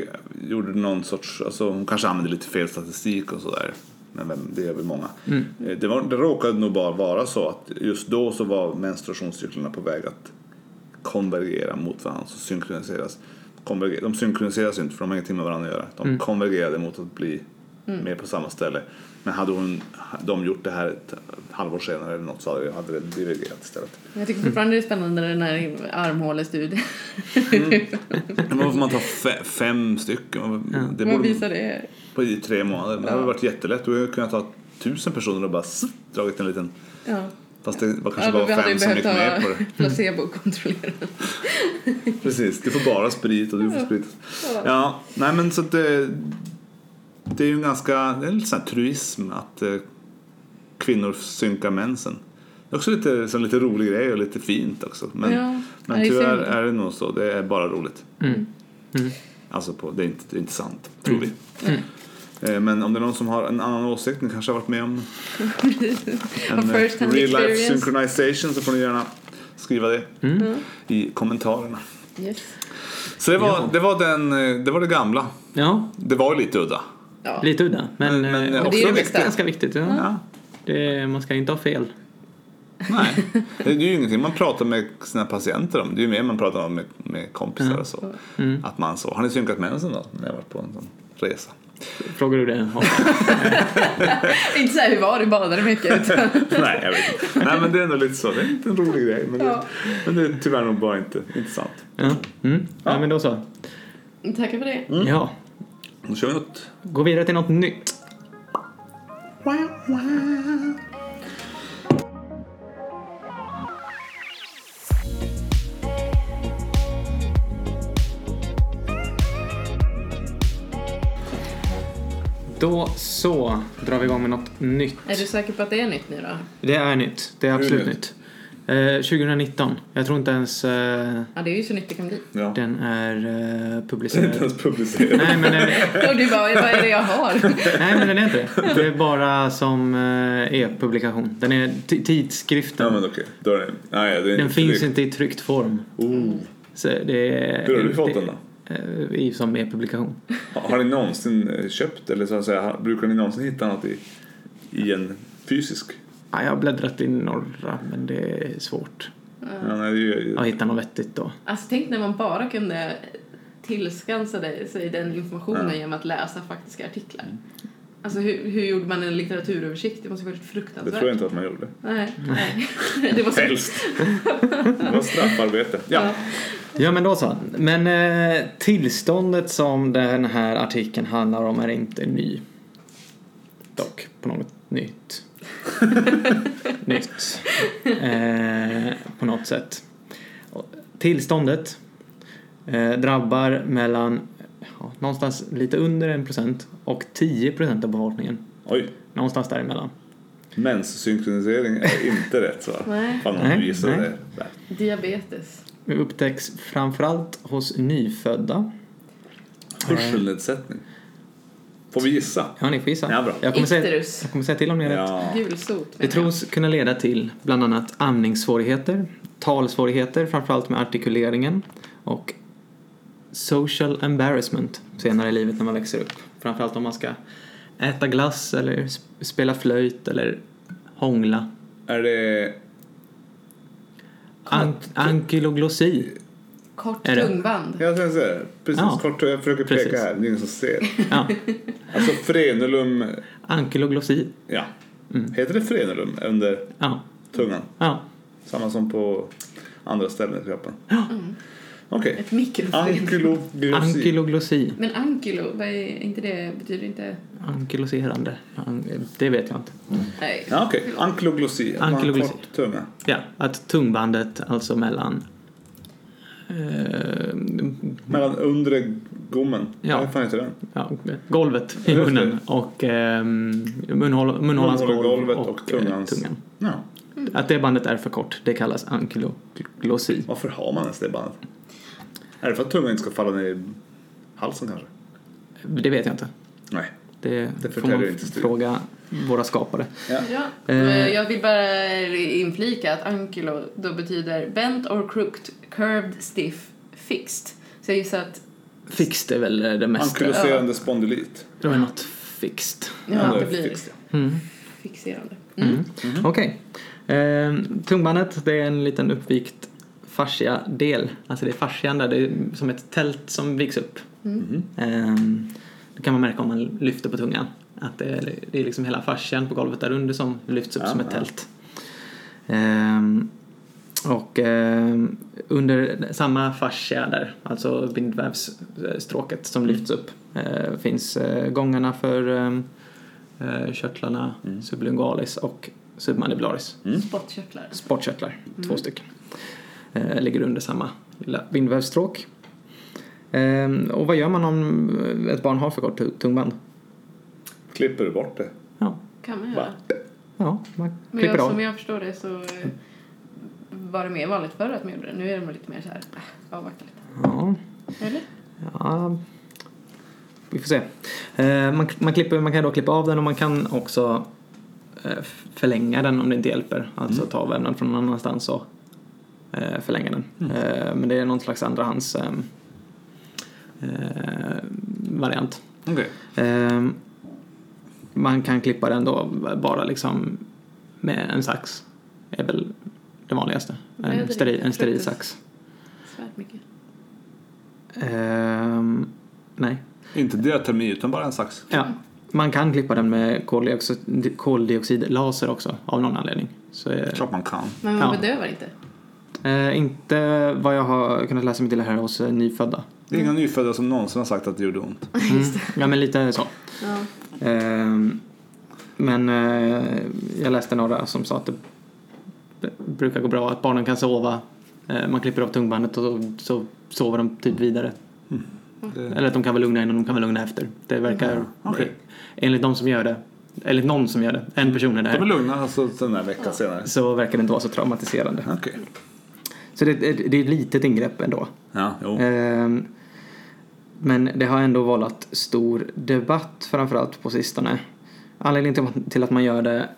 Speaker 1: gjorde någon sorts, alltså hon kanske använde lite fel statistik och sådär. Men vem, det är väl många. Eh, Det, var, det råkade nog bara vara så att just då så var menstruationscyklerna på väg att konvergera mot varandra, så synkroniseras. Konverger, de synkroniseras ju inte för de har ingenting med varandra att göra. De konvergerade mot att bli med på samma ställe. Men hade hon, de gjort det här ett halvår senare eller något så hade det- hade det divergerat istället.
Speaker 3: Jag tycker fortfarande det är spännande den här armhålestudien.
Speaker 1: Mm. Men varför man tar fe- fem stycken? Det
Speaker 3: Man
Speaker 1: borde
Speaker 3: visar det.
Speaker 1: på i tre månader. Det hade varit jättelätt. Du hade kunnat ta tusen personer och bara sss, dragit en liten.
Speaker 3: Ja.
Speaker 1: Fast det var kanske
Speaker 3: Ja, men vi
Speaker 1: bara
Speaker 3: hade ju
Speaker 1: fem som gick med
Speaker 3: behövt ha
Speaker 1: på det.
Speaker 3: placebo-kontrollerat.
Speaker 1: Precis, du får bara sprit och du får sprit.
Speaker 3: Ja.
Speaker 1: Ja, nej men så att det, det är ju en ganska, det är en lite sån här truism att eh, kvinnor synkar mensen. Det är också lite, så en lite rolig grej och lite fint också. Men,
Speaker 3: Ja,
Speaker 1: men
Speaker 3: det är
Speaker 1: tyvärr
Speaker 3: synd.
Speaker 1: är det nog så, det är bara roligt.
Speaker 2: Mm. Mm.
Speaker 1: Alltså, på, det, är inte, det är inte sant, tror
Speaker 3: Mm.
Speaker 1: vi. Eh, Men om det är någon som har en annan åsikt, ni kanske har varit med om en
Speaker 3: Of first
Speaker 1: real
Speaker 3: hand
Speaker 1: life
Speaker 3: experience. Mm.
Speaker 1: synchronization så får ni gärna skriva det i kommentarerna.
Speaker 3: Yes.
Speaker 1: Så det var,
Speaker 2: Ja.
Speaker 1: det, var den, eh, det var det gamla.
Speaker 2: Ja,
Speaker 1: Det var ju lite udda.
Speaker 3: Ja.
Speaker 2: lite udda. Men,
Speaker 1: Men- men
Speaker 2: eh,
Speaker 1: också
Speaker 3: det är det
Speaker 1: viktigt.
Speaker 3: bästa.
Speaker 2: ganska viktigt. Ja.
Speaker 1: Ja.
Speaker 2: Det, man ska inte ha fel.
Speaker 1: Nej, det är ju ingenting man pratar med sina patienter om. Det är ju mer man pratar om med, med kompisar
Speaker 3: Mm.
Speaker 1: och så. Att man så. Har ni synkat mensen då? När jag varit på en sån resa.
Speaker 2: Frågar du det? Ja.
Speaker 3: Inte så här, hur var det? Badade mycket. Utan,
Speaker 1: Nej, jag vet inte. Nej, men det är ändå lite så. Det är inte en rolig grej. Men det,
Speaker 3: Ja.
Speaker 1: men det är tyvärr nog bara inte intressant.
Speaker 2: Ja. Mm. ja, men då så.
Speaker 3: tackar för det.
Speaker 1: Mm.
Speaker 2: Ja,
Speaker 1: Då kör vi något.
Speaker 2: gå vidare till något nytt. Då så drar vi igång med något nytt.
Speaker 3: Är du säker på att det är nytt nu då?
Speaker 2: Det är nytt. Det är absolut
Speaker 1: nytt?
Speaker 2: nytt. Eh, 2019. Jag tror inte ens eh,
Speaker 3: Ja, det är ju så nytt det kan bli.
Speaker 1: Ja.
Speaker 2: den är eh,
Speaker 1: Det är inte
Speaker 2: publicerad.
Speaker 1: ens publicerat.
Speaker 2: Nej men, eh,
Speaker 3: Och du bara, vad är det jag har?
Speaker 2: nej, men den är inte det. Det är bara som eh, e-publikation. Den är t- tidskriften.
Speaker 1: Ja, men okej. Då är det... Nej, det är
Speaker 2: Den
Speaker 1: inte
Speaker 2: finns
Speaker 1: det.
Speaker 2: inte i tryckt form.
Speaker 1: Oh.
Speaker 2: Så det är,
Speaker 1: Hur har du fått
Speaker 2: det-
Speaker 1: den då?
Speaker 2: eh, I, som e-publikation.
Speaker 1: Har har ni någonsin eh, köpt eller så att säga, har- brukar ni någonsin hitta något i, i en fysisk?
Speaker 2: Ja, jag har bläddrat i några men det är svårt
Speaker 1: Ja, nej, det är ju,
Speaker 2: att hitta något vettigt då.
Speaker 3: Alltså tänk när man bara kunde tillskansa dig- sig den informationen genom att läsa faktiska artiklar.
Speaker 1: Mm.
Speaker 3: Alltså hur, hur gjorde man en litteraturöversikt? Det måste ju varit
Speaker 1: det tror jag
Speaker 3: fruktansvärt.
Speaker 1: inte att man gjorde.
Speaker 3: Nej, nej. Det var så...
Speaker 1: Helst. Det var straffarbete. Ja.
Speaker 2: Ja men då så. Men eh, tillståndet som den här artikeln handlar om är inte ny. Dock, på något nytt. nytt. Eh, på något sätt. Och Tillståndet eh, drabbar mellan ja, någonstans lite under 1% och 10% av befolkningen.
Speaker 1: Oj.
Speaker 2: Någonstans däremellan.
Speaker 1: Menssynkronisering är inte rätt svar.
Speaker 3: Nej.
Speaker 1: Fan om
Speaker 2: Nej,
Speaker 1: du gissade
Speaker 2: nej.
Speaker 1: det. Där.
Speaker 3: Diabetes.
Speaker 2: Det upptäcks framförallt hos nyfödda.
Speaker 1: Hörselnedsättning. Får vi gissa?
Speaker 2: Ja, ni får gissa.
Speaker 1: Ja, bra.
Speaker 2: Jag, kommer säga,
Speaker 3: Icterus.
Speaker 2: jag kommer säga till om ni är rätt.
Speaker 1: Ja.
Speaker 3: Gulsot.
Speaker 2: Det
Speaker 3: menar jag.
Speaker 2: tros kunna leda till bland annat amningssvårigheter, talsvårigheter, framförallt med artikuleringen och social embarrassment senare i livet när man växer upp. Framförallt om man ska äta glass eller sp- spela flöjt eller hångla.
Speaker 1: Är det...
Speaker 2: An- ankyloglossi.
Speaker 3: Kort
Speaker 2: Är det?
Speaker 3: tungband.
Speaker 1: Jag tänkte säga det. Precis,
Speaker 2: Ja.
Speaker 1: kort. Jag försöker peka
Speaker 2: Precis.
Speaker 1: här. Det är ingen som ser.
Speaker 2: Ja,
Speaker 1: Alltså frenulum...
Speaker 2: ankyloglossi.
Speaker 1: Ja.
Speaker 2: Mm.
Speaker 1: Heter det frenulum under
Speaker 2: Ja,
Speaker 1: tungan?
Speaker 2: ja.
Speaker 1: Samma som på andra ställen i kroppen? Okej.
Speaker 3: Ett mikrofon.
Speaker 1: Ankyloglossi.
Speaker 2: Ankyloglossi.
Speaker 3: Men ankylo, vad är inte det, betyder inte...
Speaker 2: Ankyloserande. An- det vet jag inte.
Speaker 3: Nej.
Speaker 1: Ja, okej. Ankyloglossi. Att man har
Speaker 2: Ankyloglossi.
Speaker 1: kort tunga.
Speaker 2: Ja, att tungbandet alltså mellan eh,
Speaker 1: Mellan undre gommen.
Speaker 2: Ja.
Speaker 1: Vad fan heter den?
Speaker 2: ja, golvet i munnen och eh, munhål, munhålans golv
Speaker 1: Munhålegolvet och
Speaker 2: eh,
Speaker 1: tungans-
Speaker 2: tungan.
Speaker 1: Ja.
Speaker 2: Att det bandet är för kort, det kallas ankyloglossi.
Speaker 1: Varför har man ens det bandet? Är det för att tungan inte ska falla ner i halsen kanske?
Speaker 2: Det vet jag inte.
Speaker 1: Nej.
Speaker 2: Det,
Speaker 1: Det
Speaker 2: får man
Speaker 1: förtäljer inte studien.
Speaker 2: fråga våra skapare.
Speaker 3: Ja,
Speaker 2: Eh.
Speaker 3: men jag vill bara inflika att ankylo då betyder bent or crooked, curved, stiff, fixed. Så jag gissar att
Speaker 2: Fixt är väl eh, det mesta.
Speaker 1: Ankyloserande spondylit.
Speaker 2: Det var något fixt.
Speaker 3: ja,
Speaker 1: Ja,
Speaker 3: det,
Speaker 1: det
Speaker 3: blir
Speaker 1: fixed,
Speaker 2: Mm.
Speaker 3: fixerande. Mm.
Speaker 2: Mm.
Speaker 1: Mhm.
Speaker 2: Okej. Eh, tungbandet, det är en liten uppvikt fascia-del. Alltså det är fascian där, det är som ett tält som viks upp.
Speaker 1: Mhm.
Speaker 2: Ehm, Det kan man märka om man lyfter på tungan. Att det är, det är liksom hela fascian på golvet där under som lyfts upp
Speaker 1: Ja,
Speaker 2: som ett
Speaker 1: ja.
Speaker 2: tält. Ehm, och ehm, under samma fascia där, alltså bindvävsstråket som
Speaker 1: Mm.
Speaker 2: lyfts upp, eh, finns eh, gångarna för ehm, eh, körtlarna
Speaker 1: Mhm. Mm.
Speaker 2: sublingualis och submandibilaris.
Speaker 3: Spottkörtlar. Mm.
Speaker 2: Sportkörtlar, Mm. två stycken. Eh, ligger under samma lilla bindvävsstråk. Ehm, och vad gör man om eh, ett barn har för kort tu- tungband?
Speaker 1: Klipper du bort det?
Speaker 2: Ja,
Speaker 3: Kan man
Speaker 1: Va?
Speaker 3: göra.
Speaker 2: ja man
Speaker 3: Men
Speaker 2: klipper
Speaker 3: jag,
Speaker 2: av. Mm.
Speaker 3: som jag förstår det så eh, var det mer vanligt förr att man gjorde det. Nu är de lite mer så här, ah, avvakta lite.
Speaker 2: Ja,
Speaker 3: Eller?
Speaker 2: ja, vi får se. Eh, man, man, klipper, man kan då klippa av den och man kan också eh, förlänga den om det inte hjälper. Alltså ta vävnad från någon annanstans och eh, förlänga den. Eh, men det är någon slags andrahands eh, eh, variant.
Speaker 1: Okej.
Speaker 2: Ehm, man kan klippa den då bara liksom med en sax. är väl det vanligaste.
Speaker 3: Ja, det är
Speaker 2: En steril, en steril
Speaker 3: faktiskt.
Speaker 2: sax.
Speaker 3: Svärt mycket.
Speaker 2: Ehm, nej.
Speaker 1: Inte diatermi utan bara en sax.
Speaker 2: Ja,
Speaker 3: Mm.
Speaker 2: man kan klippa den med koldioxid, koldioxidlaser också av någon anledning. Så, eh,
Speaker 1: Klart man kan.
Speaker 3: Men man
Speaker 2: Ja.
Speaker 3: bedövar inte.
Speaker 2: eh, inte vad jag har kunnat läsa mig till här hos eh, nyfödda.
Speaker 1: Det är inga nyfödda som någonsin har sagt att det gjorde ont.
Speaker 2: Mm. Ja, men lite så.
Speaker 3: Ja.
Speaker 2: Ehm, men eh, jag läste några som sa att det b- brukar gå bra, att barnen kan sova. Eh, man klipper av tungbandet och så, så sover de typ vidare.
Speaker 1: Det,
Speaker 2: Eller att de kan vara lugna innan de kan vara lugna efter. Det verkar,
Speaker 1: Ja, okej.
Speaker 2: enligt de som gör det, enligt någon som gör det, en person är det
Speaker 1: de är
Speaker 2: här,
Speaker 1: lugna alltså den här veckan senare.
Speaker 2: så verkar det inte vara så traumatiserande.
Speaker 1: Okej.
Speaker 2: Så det, det, det är ett litet ingrepp ändå.
Speaker 1: Ja, jo.
Speaker 2: Ehm, Men det har ändå vållat stor debatt framförallt på sistone. Anledningen till- till att man gör det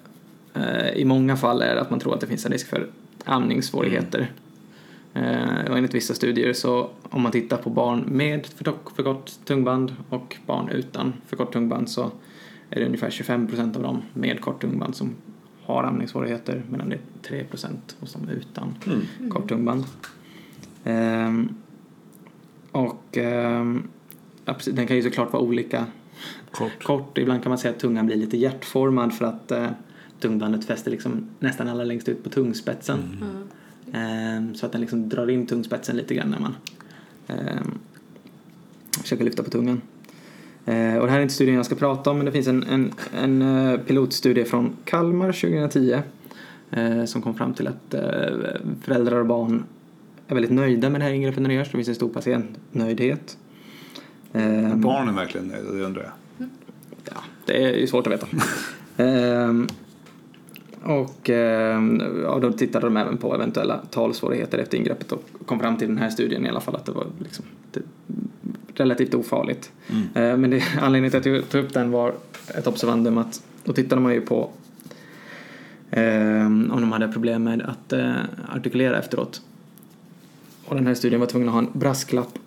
Speaker 2: eh, i många fall är att man tror att det finns en risk för amningssvårigheter. Eh, Och enligt vissa studier så om man tittar på barn med förtok- förkort tungband och barn utan förkort tungband så är det ungefär 25% av dem med kort tungband som har amningssvårigheter medan det är 3% hos dem utan
Speaker 1: Mm.
Speaker 2: kort tungband. Ehm, och ehm, ja, precis, den kan ju såklart vara olika
Speaker 1: Kort.
Speaker 2: kort. Ibland kan man säga att tungan blir lite hjärtformad för att eh, tungbandet fäster liksom nästan allra längst ut på tungspetsen.
Speaker 1: Mm.
Speaker 3: Ja.
Speaker 2: Ehm, så att den liksom drar in tungspetsen lite grann när man ehm, försöker lyfta på tungan. Eh, och det här är inte studien jag ska prata om men det finns en, en, en eh, pilotstudie från Kalmar 2010 eh, som kom fram till att eh, föräldrar och barn är väldigt nöjda med det här ingreppet när det görs. Det finns en stor patientnöjdhet.
Speaker 1: Är
Speaker 2: Ehm,
Speaker 1: barnen verkligen nöjda? Det undrar jag.
Speaker 2: ja, det är ju svårt att veta. Ehm, och ehm, ja, då tittade de även på eventuella talsvårigheter efter ingreppet och kom fram till den här studien i alla fall att det var liksom, det, relativt ofarligt. Ehm, men det, anledningen till att jag tog upp den var ett observandum att då tittade man ju på ehm, om de hade problem med att eh, artikulera efteråt. Och den här studien var tvungen att ha en brasklapp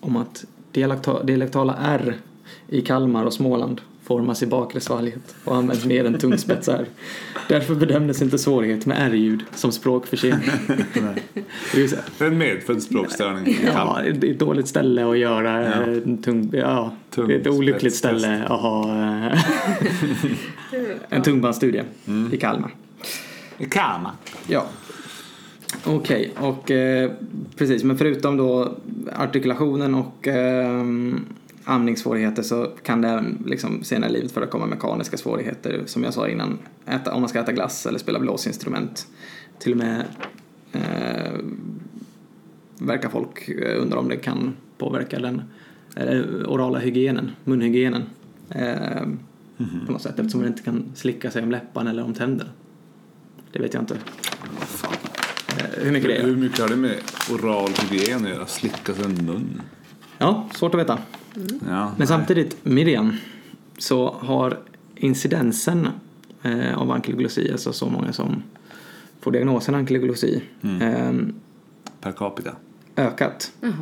Speaker 2: om att dialekta- dialektala R i Kalmar och Småland formas i bakre svalget och används mer än tungspetsar. Därför bedömdes inte svårighet med R-ljud som språkförsening. Det är ju så här,
Speaker 1: Det är en medfödd språkstörning.
Speaker 2: Ja, det är ett dåligt ställe att göra
Speaker 1: Ja.
Speaker 2: eh, en tung... Ja, det är ett
Speaker 1: Tungspetstest.
Speaker 2: olyckligt ställe att ha eh, en tungbandsstudie i Kalmar.
Speaker 1: Kan man?
Speaker 2: Ja. Okej, och eh, precis, men förutom då artikulationen och eh, amningssvårigheter så kan det även liksom, senare i livet förekomma mekaniska svårigheter som jag sa innan. Äta, om man ska äta glass eller spela blåsinstrument. Till och med eh, verkar folk eh, undra om det kan påverka den eh, orala hygienen, munhygienen. Eh, På något sätt eftersom man inte kan slicka sig om läpparna eller om tänderna. Det vet jag inte eh, hur mycket det är.
Speaker 1: Hur mycket har det med oral hygien att göra? Slicka sig en mun?
Speaker 2: Ja, svårt att veta.
Speaker 1: Ja.
Speaker 2: Men samtidigt, Miriam, så har incidensen eh, av ankyloglossi, alltså så många som får diagnosen ankyloglossi,
Speaker 1: Per capita.
Speaker 2: eh, ökat.
Speaker 3: Jaha.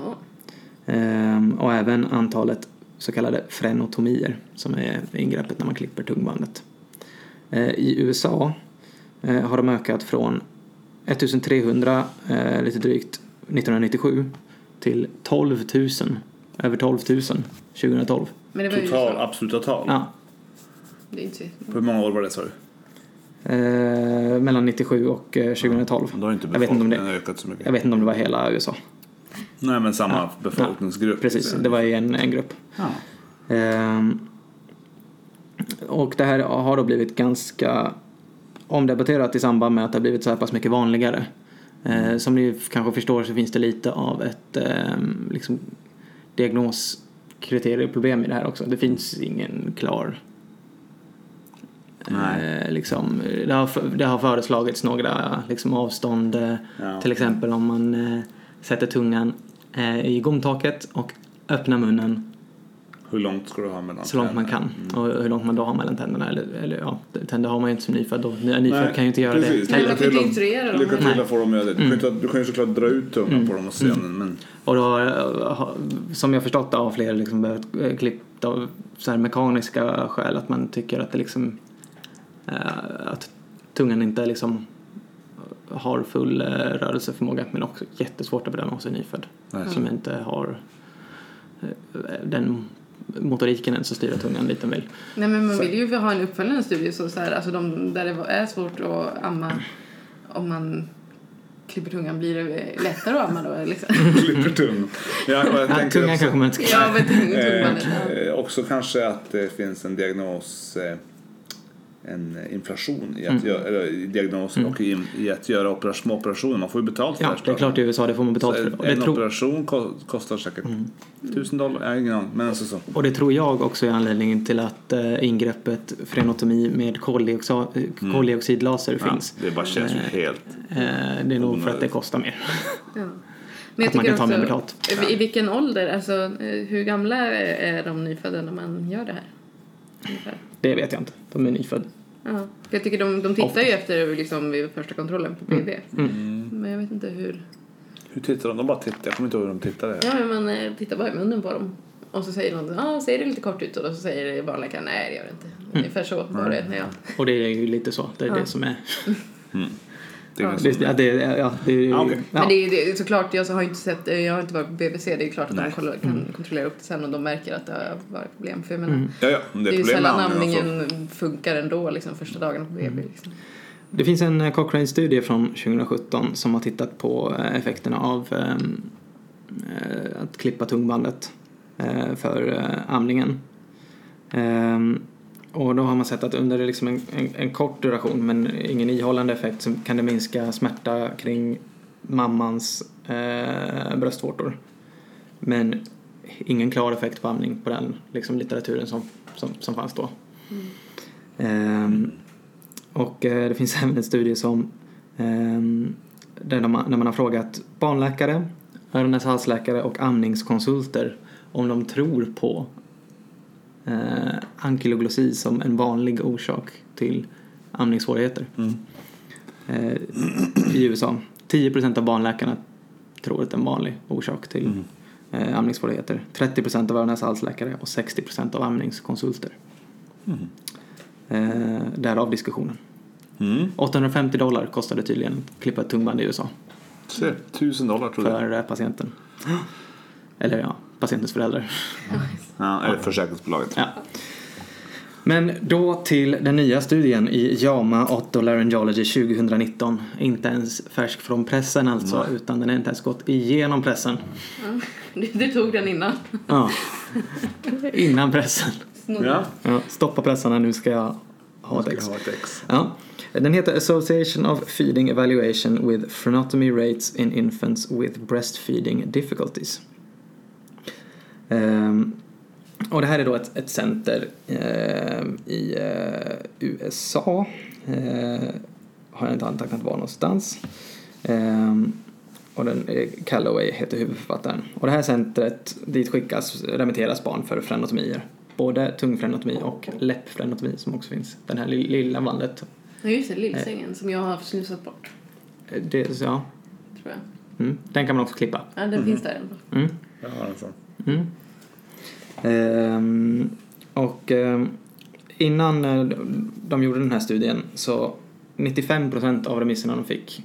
Speaker 2: Ehm, och även antalet så kallade frenotomier som är ingreppet när man klipper tungbandet. Eh, I USA eh, har de ökat från 1300 eh, lite drygt 1997 till 12 000, över 12 000 2012.
Speaker 3: Men det var ju så.
Speaker 1: absoluta tal.
Speaker 2: Ja,
Speaker 3: Det är inte så jättemycket.
Speaker 1: Hur många år var det sa du?
Speaker 2: eh, mellan 97 och eh, 2012.
Speaker 1: Då har inte
Speaker 2: jag, vet inte om
Speaker 1: befolkningen
Speaker 2: det,
Speaker 1: ökat så mycket.
Speaker 2: jag vet inte om det var hela USA.
Speaker 1: Nej men samma
Speaker 2: Ja.
Speaker 1: befolkningsgrupp.
Speaker 2: Precis,
Speaker 1: Så-
Speaker 2: det var i en, en grupp.
Speaker 1: Ja.
Speaker 2: Ehm, och det här har då blivit ganska omdebatterat i samband med att det har blivit så här pass mycket vanligare.
Speaker 1: Mm.
Speaker 2: Ehm, som ni kanske förstår så finns det lite av ett ehm, liksom, diagnoskriterieproblem i det här också. Det finns ingen klar
Speaker 1: Nej.
Speaker 2: Eh, liksom, det, har, det har föreslagits några liksom, avstånd. eh,
Speaker 1: Ja.
Speaker 2: Till exempel om man eh, sätter tungan eh, i gomtaket och öppnar munnen
Speaker 1: Hur långt ska du ha mellan
Speaker 2: Så långt man kan.
Speaker 1: Mm.
Speaker 2: Och hur långt man då har mellan tänderna. Eller, eller ja, tänder har man ju inte som nyfödd då. Nya- Nyfödd kan ju inte göra
Speaker 1: precis.
Speaker 2: det. Mm.
Speaker 3: Nej,
Speaker 2: heller.
Speaker 3: man kan inte instruera dem.
Speaker 1: Lycka till
Speaker 2: Nej.
Speaker 1: att få dem att göra det. Du kan, ju inte, du kan ju såklart dra ut tungan
Speaker 2: Mm.
Speaker 1: på dem och se men- men
Speaker 2: Och då har, har- som jag förstått det, har flera liksom behövt eh, klippt av så här mekaniska skäl. Att man tycker att det liksom eh, att tungan inte liksom har full eh, rörelseförmåga. Men också jättesvårt att bedöma hos en nyfödd.
Speaker 1: Nej.
Speaker 2: Som inte har eh, den motoriken ens att styra tungan dit den vill.
Speaker 3: Nej, men man vill ju ha en uppföljande studie så så här, alltså de, där det är svårt att amma om man klipper tungan blir det lättare att amma då liksom.
Speaker 1: klipper tungan. Ja, och jag
Speaker 2: Ja,
Speaker 1: tänker
Speaker 2: tungan
Speaker 1: också,
Speaker 2: kanske man inte ska
Speaker 3: ja, men tung, tungan.
Speaker 1: eh, eh, också kanske att det finns en diagnos eh, en inflation i att
Speaker 2: Mm.
Speaker 1: göra, eller i diagnosen och i, i att göra operas- små operationer. Man får ju betalt
Speaker 2: Ja,
Speaker 1: först.
Speaker 2: det är
Speaker 1: då.
Speaker 2: klart i USA, det får man
Speaker 1: Så
Speaker 2: betalt för.
Speaker 1: en
Speaker 2: Och det, tror, Mm.
Speaker 1: operation ko- kostar säkert tusen dollar. Jag har ingen aning. Men alltså så.
Speaker 2: och det tror jag också är anledningen till att eh, ingreppet frenotomi med koldioxid, koldioxidlaser
Speaker 1: Mm. Ja,
Speaker 2: finns.
Speaker 1: det bara känns ju helt...
Speaker 2: Eh, det är nog för att det kostar mer.
Speaker 3: Ja. Men jag
Speaker 2: Att man kan
Speaker 3: tycker
Speaker 2: ta
Speaker 3: också,
Speaker 2: mer betalt.
Speaker 3: i- I vilken ålder, alltså eh, hur gamla är de nyfödda när man gör det här? Ungefär.
Speaker 2: Det vet jag inte. De är nyfödda.
Speaker 3: Ja. För jag tycker de, de tittar ju efter liksom, vid första kontrollen på BB.
Speaker 2: Mm.
Speaker 3: Men jag vet inte hur.
Speaker 1: Hur tittar de? De bara tittar. Jag kommer inte ihåg hur de tittade.
Speaker 3: Ja, men man eh, tittar bara i munnen på dem. Och så säger någon, ja, ah, ser det lite kort ut? Och då så säger barnläkaren, nej det gör det inte.
Speaker 1: Mm.
Speaker 3: Ungefär så var det när jag...
Speaker 2: Och det är ju lite så. Det är det som är...
Speaker 1: Det är ganska-
Speaker 2: Det, ja, det, är- ja, det är ju...
Speaker 1: Ja, okej.
Speaker 3: Men
Speaker 2: Ja.
Speaker 3: det är, det är såklart, jag har ju inte sett, eh, jag har inte varit på BBC, det är ju klart att
Speaker 1: Nej. Mm.
Speaker 3: de kollar, kan kontrollera upp det sen och de märker att det har varit problem. För jag
Speaker 2: Mm.
Speaker 3: menar,
Speaker 1: Ja, ja. men
Speaker 3: det, är ju
Speaker 1: Mm. problem med
Speaker 3: sällan
Speaker 1: andningen och så. Mm.
Speaker 3: amningen funkar ändå liksom första dagarna på BB. Liksom.
Speaker 2: Det finns en eh, Cochrane-studie från 2017 som har tittat på eh, effekterna av ehm, eh, att klippa tungbandet eh, för eh, amningen. Ehm, och då har man sett att under liksom en, en, en kort duration men ingen ihållande effekt så kan det minska smärta kring mammans eh, bröstvårtor. Men ingen klar effekt på amning på den liksom, litteraturen som, som, som fanns då.
Speaker 3: Mm.
Speaker 2: Ehm, och eh, det finns även en studie som ehm, där de, när man har frågat barnläkare, öron och halsläkare och amningskonsulter om de tror på eh, ankyloglossi som en vanlig orsak till amningssvårigheter.
Speaker 1: alltså.
Speaker 2: Eh, I USA. 10% av barnläkarna tror att det är en vanlig orsak till eh, amningssvårigheter. 30% av öron och halsläkare och 60% av amningskonsulter. Eh, därav diskussionen.
Speaker 1: Mm.
Speaker 2: 850 dollar kostade tydligen att klippa ett tungband i USA
Speaker 1: Se, tusen dollar tror jag.
Speaker 2: för eh, patienten. Eller ja, patientens föräldrar.
Speaker 1: Ja, eller försäkringsbolaget.
Speaker 2: Ja. Men då till den nya studien i JAMA Otolaryngology 2019. Inte ens färsk från pressen alltså, utan den har inte ens gått igenom pressen.
Speaker 3: Du, du tog den innan.
Speaker 2: Ja. Innan pressen.
Speaker 3: Snodde.
Speaker 1: Ja.
Speaker 2: Ja, stoppa pressarna, nu ska jag ha ett
Speaker 1: Jag
Speaker 2: ex.
Speaker 1: har ett ex.
Speaker 2: Ja. Den heter Association of Feeding Evaluation with Phrenotomy Rates in Infants with Breastfeeding Difficulties. Ehm, och det här är då ett, ett center ehm, i eh, USA. Eh, har jag inte antecknat var någonstans. Ehm, och den, eh, Calloway heter huvudförfattaren. Och det här centret, dit skickas, remitteras barn för frenotomier. Både tungfrenotomi och läppfrenotomi som också finns. Den här li- lilla bandet.
Speaker 3: Ja, just det, lillsängen som jag har snusat bort.
Speaker 2: Eh, Det, så, ja.
Speaker 3: Tror jag.
Speaker 2: mm. Den kan man också klippa.
Speaker 3: Ja, den finns där ändå.
Speaker 2: Mm.
Speaker 1: Jag har en sån.
Speaker 2: Mm. Ehm, och ehm, innan eh, de gjorde den här studien så 95% av remisserna de fick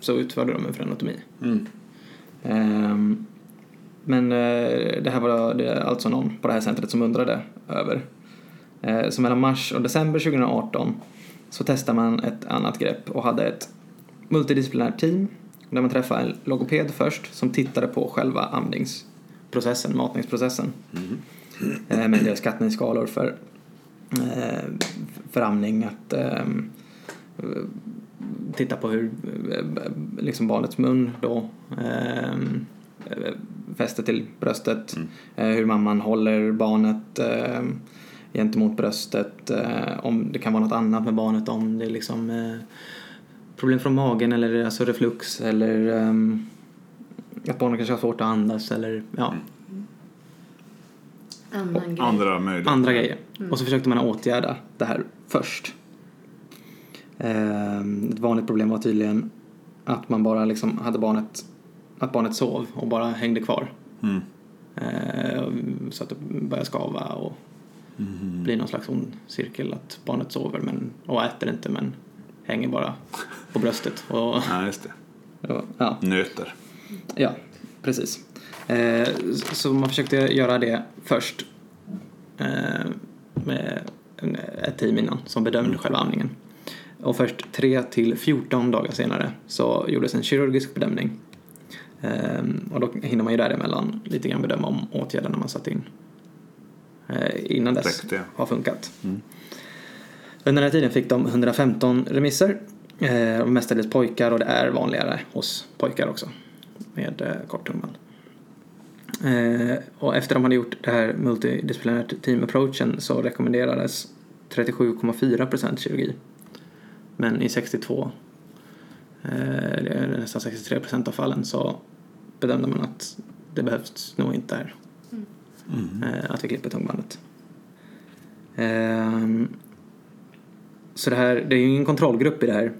Speaker 2: så utförde de en frenotomi.
Speaker 1: Mm.
Speaker 2: Ehm, men eh, det här var det alltså någon på det här centret som undrade över. Eh, så mellan mars och december 2018 så testade man ett annat grepp och hade ett multidisciplinärt team där man träffade en logoped först som tittade på själva amningsprocessen, matningsprocessen.
Speaker 1: Mm.
Speaker 2: Eh, med en del skattningsskalor för, eh, för amning, att ehm, titta på hur eh, b- liksom barnets mun då ehm, eh, fäster till bröstet, eh, hur mamman håller barnet eh, gentemot bröstet, eh, om det kan vara något annat med barnet, om det är liksom eh, problem från magen eller alltså reflux eller eh, ehm, att barnet kanske har svårt att andas eller ja.
Speaker 3: Annan grej.
Speaker 1: och andra möjligheter.
Speaker 2: andra grejer. Och så försökte man åtgärda det här först. Ehm, Ett vanligt problem var tydligen att man bara liksom hade barnet, att barnet sov och bara hängde kvar.
Speaker 1: Mm.
Speaker 2: Ehm, Så att det började skava och blir någon slags ond cirkel att barnet sover men, och äter inte men hänger bara på bröstet. Och,
Speaker 1: Ja, just det.
Speaker 2: och, ja.
Speaker 1: Nöter.
Speaker 2: Ja, precis. Eh, så man försökte göra det först eh, med en- ett team innan som bedömde själva amningen. Och först 3 till 14 dagar senare så gjordes en kirurgisk bedömning. Eh, och då hinner man ju däremellan lite grann bedöma om åtgärderna man satt in eh, innan dess
Speaker 1: Räckte, ja.
Speaker 2: har funkat. Under den här tiden fick de 115 remisser. Eh, och mestadels pojkar och det är vanligare hos pojkar också med eh, kort tungan. Eh, och efter de hade gjort det här multidisciplinärt team approachen så rekommenderades 37,4% kirurgi. Men i 62, eh, det är nästan 63% av fallen så bedömde man att det behövs nog inte här. Eh, att vi klipper tungbandet. Ehm, så det här, det är ju ingen kontrollgrupp i det här.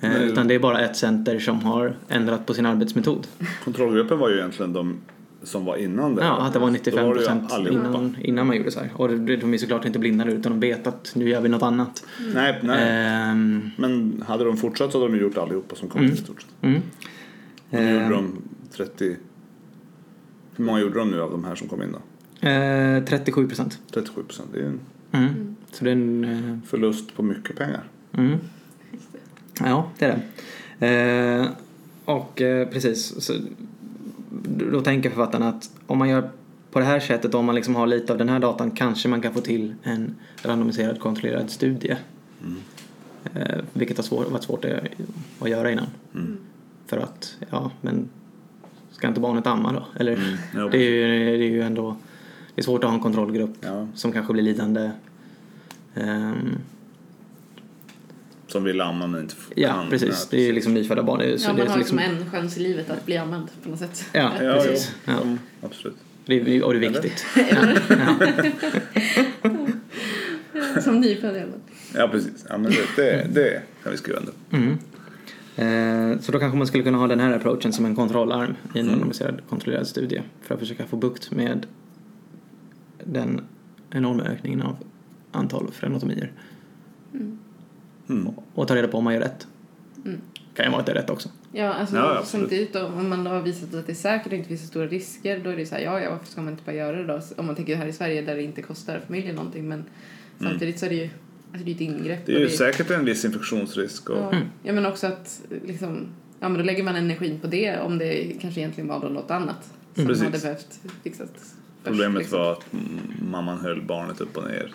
Speaker 2: Eh,
Speaker 1: Nej.
Speaker 2: utan det är bara ett center som har ändrat på sin arbetsmetod.
Speaker 1: Kontrollgruppen var ju egentligen de som var innan det.
Speaker 2: Ja, att det var 95
Speaker 1: Då var
Speaker 2: procent
Speaker 1: det ju allihopa.
Speaker 2: innan, innan man gjorde så här. Och det- de är såklart inte blinda nu utan de vet att nu gör vi något annat.
Speaker 3: Mm.
Speaker 1: Nej, nej.
Speaker 2: Ehm,
Speaker 1: Men hade de fortsatt så hade de gjort allihopa som kom
Speaker 2: Mm.
Speaker 1: i stort sett.
Speaker 2: mm.
Speaker 1: Nu gjorde de 30... Hur många gjorde de nu av de här som kom in då?
Speaker 2: Eh, 37 procent.
Speaker 1: 37 procent. Det är ju en
Speaker 2: Mm. Så det är en... eh,
Speaker 1: förlust på mycket pengar.
Speaker 2: Mm. Ja, det är det. Eh, och eh, precis, så, då tänker författarna att om man gör på det här sättet, om man liksom har lite av den här datan, kanske man kan få till en randomiserad kontrollerad studie. Eh, vilket har svår, varit svårt att, att göra innan.
Speaker 1: Mm.
Speaker 2: För att, ja, men ska inte barnet amma då? Eller,
Speaker 1: Mm. ja,
Speaker 2: det, är ju, det är ju ändå det är svårt att ha en kontrollgrupp
Speaker 1: Ja.
Speaker 2: som kanske blir lidande. Ehm,
Speaker 1: Som vill amma men inte f-
Speaker 2: Ja,
Speaker 1: kan.
Speaker 2: precis.
Speaker 1: Ja,
Speaker 2: Det är ju liksom nyfödda barn. Det är, ju- så
Speaker 3: Ja,
Speaker 2: det
Speaker 3: man
Speaker 2: är
Speaker 3: har liksom
Speaker 2: liksom,
Speaker 3: en chans i livet att bli använd på något sätt.
Speaker 2: Ja,
Speaker 1: Ja,
Speaker 2: precis.
Speaker 1: jo.
Speaker 2: Ja.
Speaker 1: Mm, absolut.
Speaker 2: Det är, och det är viktigt.
Speaker 3: Som nyfödd i alla fall.
Speaker 1: Ja, precis. Ja, men det, det, det kan vi skriva under.
Speaker 2: Mm. Eh, så då kanske man skulle kunna ha den här approachen som en kontrollarm i en randomiserad kontrollerad studie för att försöka få bukt med den enorma ökningen av antal frenotomier
Speaker 1: Mm.
Speaker 2: och ta reda på om man gör rätt.
Speaker 3: Mm.
Speaker 2: Kan ju vara att det är rätt också.
Speaker 3: Ja, alltså
Speaker 1: Ja, absolut.
Speaker 3: samtidigt då, om man har visat att det är säkert och inte finns så stora risker då är det så här, ja, ja, varför ska man inte bara göra det då? Om man tänker här i Sverige där det inte kostar familjen någonting men samtidigt så är det ju alltså det är ett ingrepp.
Speaker 1: Mm. Det
Speaker 3: och
Speaker 1: är ju säkert en viss infektionsrisk. Och,
Speaker 3: Ja, ja, men också att liksom, ja men då lägger man energin på det om det kanske egentligen var då något annat som
Speaker 1: Mm. Precis.
Speaker 3: hade behövt fixas. först,
Speaker 1: Problemet
Speaker 3: liksom.
Speaker 1: var att mm, mamman höll barnet upp och ner.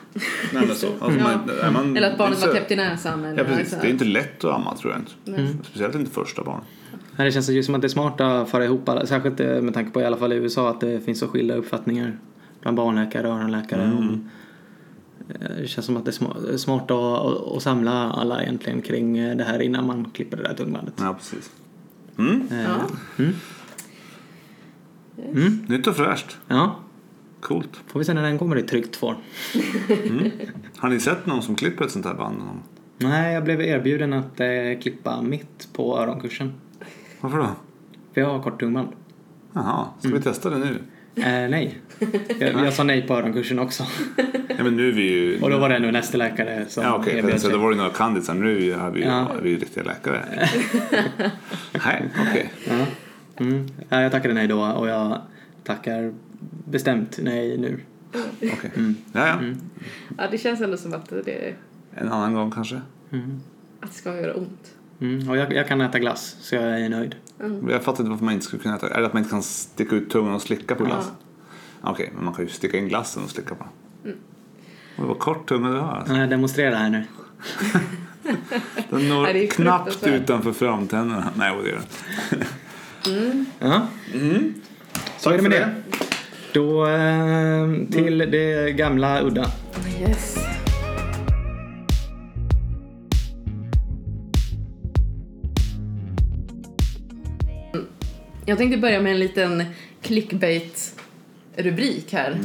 Speaker 1: Nej, men så. Alltså,
Speaker 3: Ja.
Speaker 1: man, är man,
Speaker 3: Eller att barnet
Speaker 1: det är
Speaker 3: var
Speaker 1: så-
Speaker 3: täppt i näsan. Eller
Speaker 1: Ja, precis.
Speaker 3: alltså-
Speaker 1: Det är inte lätt att amma, tror jag inte. Mm. Speciellt inte första barnet.
Speaker 2: Nej, det känns ju som att det är smart att föra ihop alla, särskilt eh, med tanke på i alla fall i USA att det finns så skilda uppfattningar bland barnläkare och öronläkare.
Speaker 1: Mm.
Speaker 2: Om, eh, det känns som att det är sma- smart att, att, att samla alla egentligen kring eh, det här innan man klipper det där tungbandet.
Speaker 1: Ja, precis. Mm.
Speaker 2: Eh,
Speaker 3: Ja.
Speaker 1: Mm. Nytt och fräscht.
Speaker 2: ja,
Speaker 1: Coolt.
Speaker 2: får vi se när den kommer i tryckt form.
Speaker 1: Har ni sett någon som klipper ett sånt här band? någon gång?
Speaker 2: Nej, jag blev erbjuden att eh, klippa mitt på öronkursen.
Speaker 1: Varför då?
Speaker 2: För jag har kort tungband.
Speaker 1: Jaha, ska vi testa det nu?
Speaker 2: Eh, nej, jag, jag sa nej på öronkursen också.
Speaker 1: Nej, men nu är vi ju...
Speaker 2: Och då var det ändå nästa läkare som
Speaker 1: Ja, okej. Okay.
Speaker 2: erbjöd
Speaker 1: Så då
Speaker 2: sig.
Speaker 1: var det några kandisar. Nu är vi, har vi, ju-
Speaker 2: Ja.
Speaker 1: är vi ju riktiga läkare. Nej, okej.
Speaker 2: Ja. Mm. Ja, jag tackade nej då och jag tackar bestämt nej nu.
Speaker 1: okej. Ja, ja.
Speaker 3: Ja, det känns ändå som att det,
Speaker 1: En annan gång kanske.
Speaker 3: att det ska göra ont.
Speaker 2: Mm. Och jag, jag kan äta glass så jag är nöjd.
Speaker 1: Jag fattar inte varför man inte skulle kunna äta. Eller att man inte kan sticka ut tungan och slicka på glass. Okej, men man kan ju sticka in glassen och slicka på den. Mm. Vad kort tunga du har. Alltså.
Speaker 2: Jag demonstrerar här nu.
Speaker 1: Den når
Speaker 3: Ja, det är
Speaker 1: knappt
Speaker 3: fruktansvärt.
Speaker 1: utanför framtänderna. Nej, det gör den.
Speaker 2: Ja. Så är det
Speaker 1: Mm. Tack
Speaker 2: med det.
Speaker 1: för Mm.
Speaker 2: Då eh, till det gamla udda.
Speaker 3: Yes. Jag tänkte börja med en liten clickbait-rubrik här.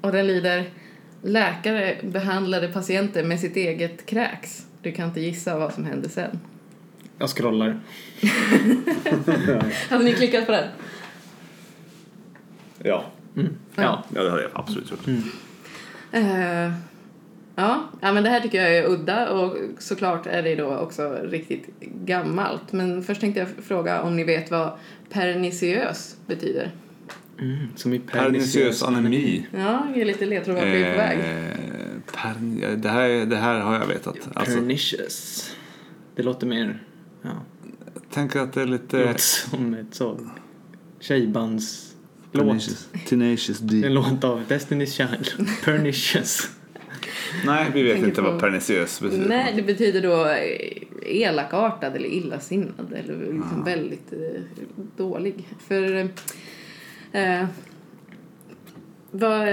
Speaker 3: Och den lyder Läkare behandlade patienter med sitt eget kräks. Du kan inte gissa vad som hände sen.
Speaker 2: Jag scrollar.
Speaker 3: Hade ni klickat på den?
Speaker 1: Ja,
Speaker 3: Mm.
Speaker 2: Ja.
Speaker 1: ja det hade jag absolut gjort.
Speaker 3: Eh, ja. ja, men det här tycker jag är udda och såklart är det då också riktigt gammalt. Men först tänkte jag fråga om ni vet vad perniciös betyder?
Speaker 2: Mm, som i
Speaker 1: Perniciös anemi.
Speaker 3: Ja, det är lite ledtråd vart vi är på väg.
Speaker 1: Eh, pern- det, här, det här har jag vetat. Alltså,
Speaker 2: Pernicious. Det låter mer... Ja.
Speaker 1: tänk att det är
Speaker 2: Det
Speaker 1: lite...
Speaker 2: låter som ett så... Tjejbands... Låt.
Speaker 1: Tenacious, tenacious D.
Speaker 2: En låt av Destiny's Child. Pernicious.
Speaker 1: Nej, vi vet
Speaker 3: tänker
Speaker 1: inte
Speaker 3: på-
Speaker 1: vad perniciös betyder.
Speaker 3: Nej, det betyder då eh, elakartad eller illasinnad eller
Speaker 1: Ah.
Speaker 3: liksom väldigt eh, dålig. För eh, eh, vad,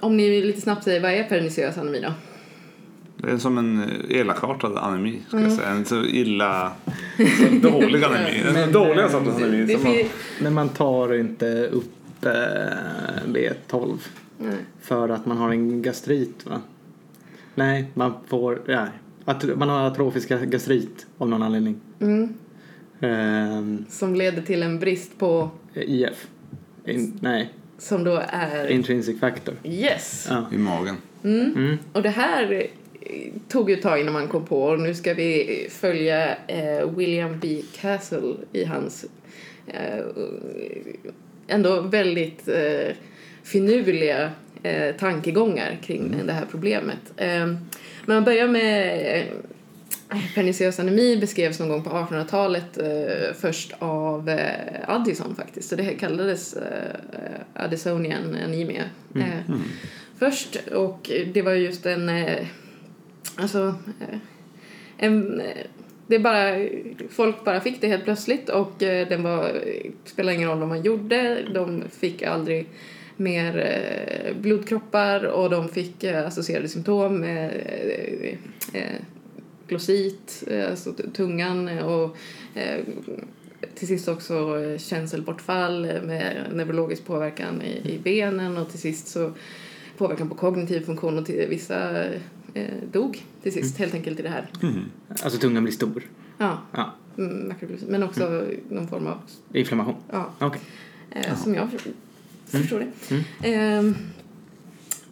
Speaker 3: om ni lite snabbt säger vad är perniciös anemi då?
Speaker 1: Det är som en eh, elakartad anemi, ska
Speaker 2: Mm.
Speaker 1: jag säga. En så illa... Så dålig anemi. Den
Speaker 2: Men,
Speaker 1: dåliga
Speaker 2: eh,
Speaker 1: sortens anemi.
Speaker 3: Det
Speaker 1: som man-
Speaker 3: fin-
Speaker 2: Men man tar inte upp eh, B12
Speaker 3: Nej.
Speaker 2: för att man har en gastrit va? Nej, man får... Nej. Att man har atrofisk gastrit av någon anledning.
Speaker 3: Mm,
Speaker 2: Ehm,
Speaker 3: som leder till en brist på,
Speaker 2: IF. In, nej,
Speaker 3: som då är...
Speaker 2: intrinsic factor.
Speaker 3: Yes!
Speaker 2: Ja.
Speaker 1: I magen.
Speaker 2: Mm.
Speaker 3: Och det här eh, tog ju ett tag innan man kom på och nu ska vi följa eh, William B. Castle i hans eh, ändå väldigt eh, finurliga eh, tankegångar kring det här problemet. Eh, men man börjar med eh, perniciös anemi beskrevs någon gång på 1800-talet eh, först av eh, Addison faktiskt. Så det kallades eh, Addisonian anemia. Eh, först och det var just en eh, alltså eh, en eh, det är bara folk bara fick det helt plötsligt och eh, den var eh, spelade ingen roll vad man gjorde. De fick aldrig mer eh, blodkroppar och de fick eh, associerade symptom eh, eh, eh, glossit, eh, alltså t- tungan eh, och eh, till sist också eh, känselbortfall eh, med neurologisk påverkan i, i benen och till sist så påverkan på kognitiv funktion och till, vissa eh, dog till sist helt enkelt i det här.
Speaker 1: Mm.
Speaker 2: Alltså tungan blir stor.
Speaker 3: Ja,
Speaker 2: Ja.
Speaker 3: mm, makrobiosis, men också någon form av,
Speaker 2: Inflammation.
Speaker 3: ja,
Speaker 2: Okej.
Speaker 3: eh, som jag för-
Speaker 2: Mm.
Speaker 3: förstår det. Ehm,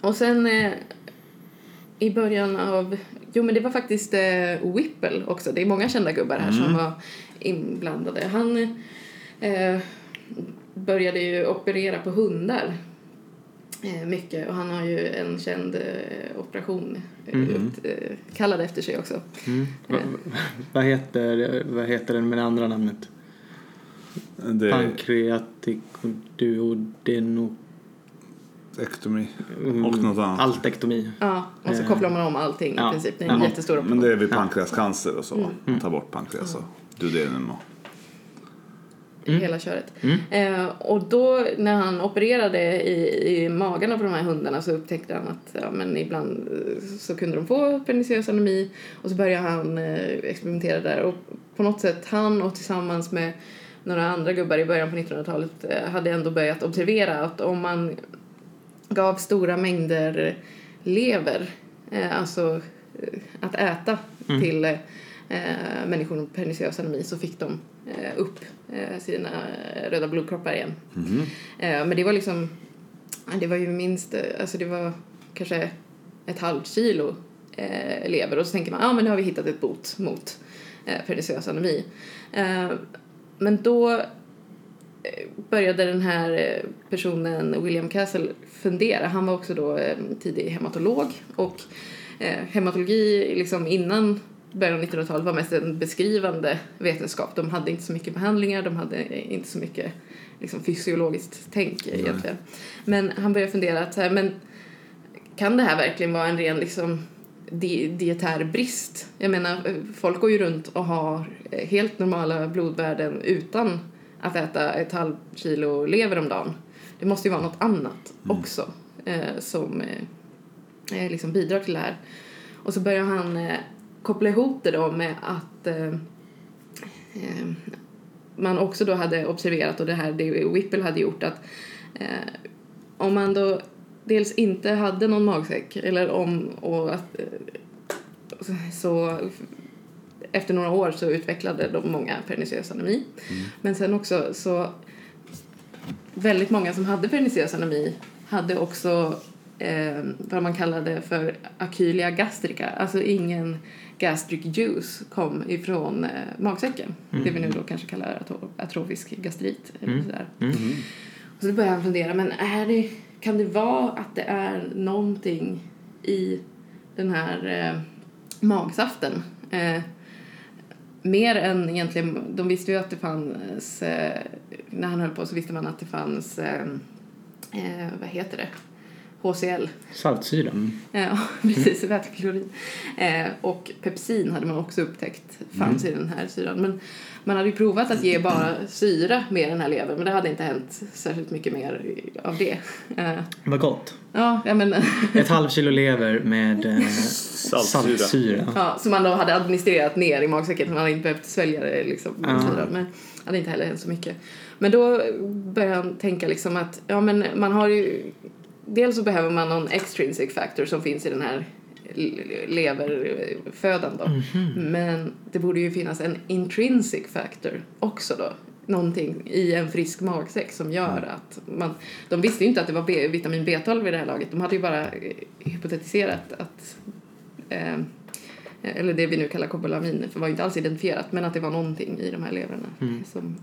Speaker 3: och sen eh, i början av, jo men det var faktiskt eh, Whipple också, det är många kända gubbar här
Speaker 2: Mm.
Speaker 3: som var inblandade. Han eh, började ju operera på hundar eh, mycket och han har ju en känd eh, operation eh,
Speaker 2: Mm.
Speaker 3: ut- eh, kallad efter sig också.
Speaker 2: Va- va- Vad heter, vad heter den med det andra namnet?
Speaker 1: Det är
Speaker 2: Pankreaticoduodeno...
Speaker 1: ektomi.
Speaker 2: Mm.
Speaker 1: Och något annat.
Speaker 2: Altektomi.
Speaker 3: Ja, och så
Speaker 2: Eh.
Speaker 3: kopplar man om allting i
Speaker 2: Ja.
Speaker 3: princip. Det är en
Speaker 2: Ja. Mm.
Speaker 3: jättestor operation.
Speaker 1: Men det är vid pankreascancer och så. Ta bort pankreas och duodenum och...
Speaker 3: hela köret. Eh, och då när han opererade i, i magarna på de här hundarna så upptäckte han att ja, men ibland eh, så kunde de få perniciös anemi och så började han eh, experimentera där och på något sätt han och tillsammans med några andra gubbar i början på 1900-talet eh, hade ändå börjat observera att om man gav stora mängder lever, eh, alltså eh, att äta till eh, eh, människor med perniciös anemi så fick de eh, upp eh, sina röda blodkroppar igen.
Speaker 2: Mm-hmm.
Speaker 3: Eh, men det var liksom, det var ju minst, eh, alltså det var kanske ett halvt kilo eh, lever och så tänker man, ja ah, men nu har vi hittat ett bot mot eh, perniciös anemi. Eh, men då började den här eh, personen, William Castle, fundera. Han var också då eh, tidig hematolog och eh, hematologi liksom innan början av 1900-talet var mest en beskrivande vetenskap. De hade inte så mycket behandlingar, de hade eh, inte så mycket liksom, fysiologiskt tänk eh, egentligen. Men han började fundera att så här, men kan det här verkligen vara en ren liksom, di- dietär brist? Jag menar, eh, folk går ju runt och har eh, helt normala blodvärden utan att äta ett halv kilo lever om dagen. Det måste ju vara något annat också eh, som eh, eh, liksom bidrar till det här. Och så börjar han eh, koppla ihop det då med att eh, eh, man också då hade observerat och det här det Whipple hade gjort att eh, om man då dels inte hade någon magsäck eller om och att, eh, så efter några år så utvecklade de många perniciös anemi. Men sen också så väldigt många som hade perniciös anemi hade också eh, vad man kallade för akylia gastrica, alltså ingen gastric juice kom ifrån eh, magsäcken. Det vi nu då kanske kallar atro- atrofisk gastrit eller sådär. Så då började han fundera, men är det, kan det vara att det är någonting i den här eh, magsaften? Eh, mer än egentligen, de visste ju att det fanns, eh, när han höll på så visste man att det fanns, eh, eh, vad heter det, HCl.
Speaker 2: Saltsyra. Mm.
Speaker 3: Eh, Ja, precis, väteklorid. Eh, och pepsin hade man också upptäckt fanns i den här syran. Men man hade ju provat att ge bara syra med den här levern men det hade inte hänt särskilt mycket mer i- av det. Eh,
Speaker 2: Vad gott.
Speaker 3: ja, jag menar,
Speaker 2: Ett halvt kilo lever med eh,
Speaker 1: Saltsyra.
Speaker 2: saltsyra.
Speaker 3: ja, som man då hade administrerat ner i magsäcken. Man hade inte behövt svälja det liksom,
Speaker 2: Ja.
Speaker 3: syran, men hade inte heller hänt så mycket. Men då började han tänka liksom att ja, men man har ju, dels så behöver man någon extrinsic factor som finns i den här le- leverfödan då.
Speaker 2: Mhm.
Speaker 3: Men det borde ju finnas en intrinsic factor också då. Någonting i en frisk magsäck som gör att man... De visste ju inte att det var B, vitamin B12 i det här laget. De hade ju bara eh, hypotetiserat att... Eh, eller det vi nu kallar kobolamin, för det var ju inte alls identifierat, men att det var någonting i de här leverna som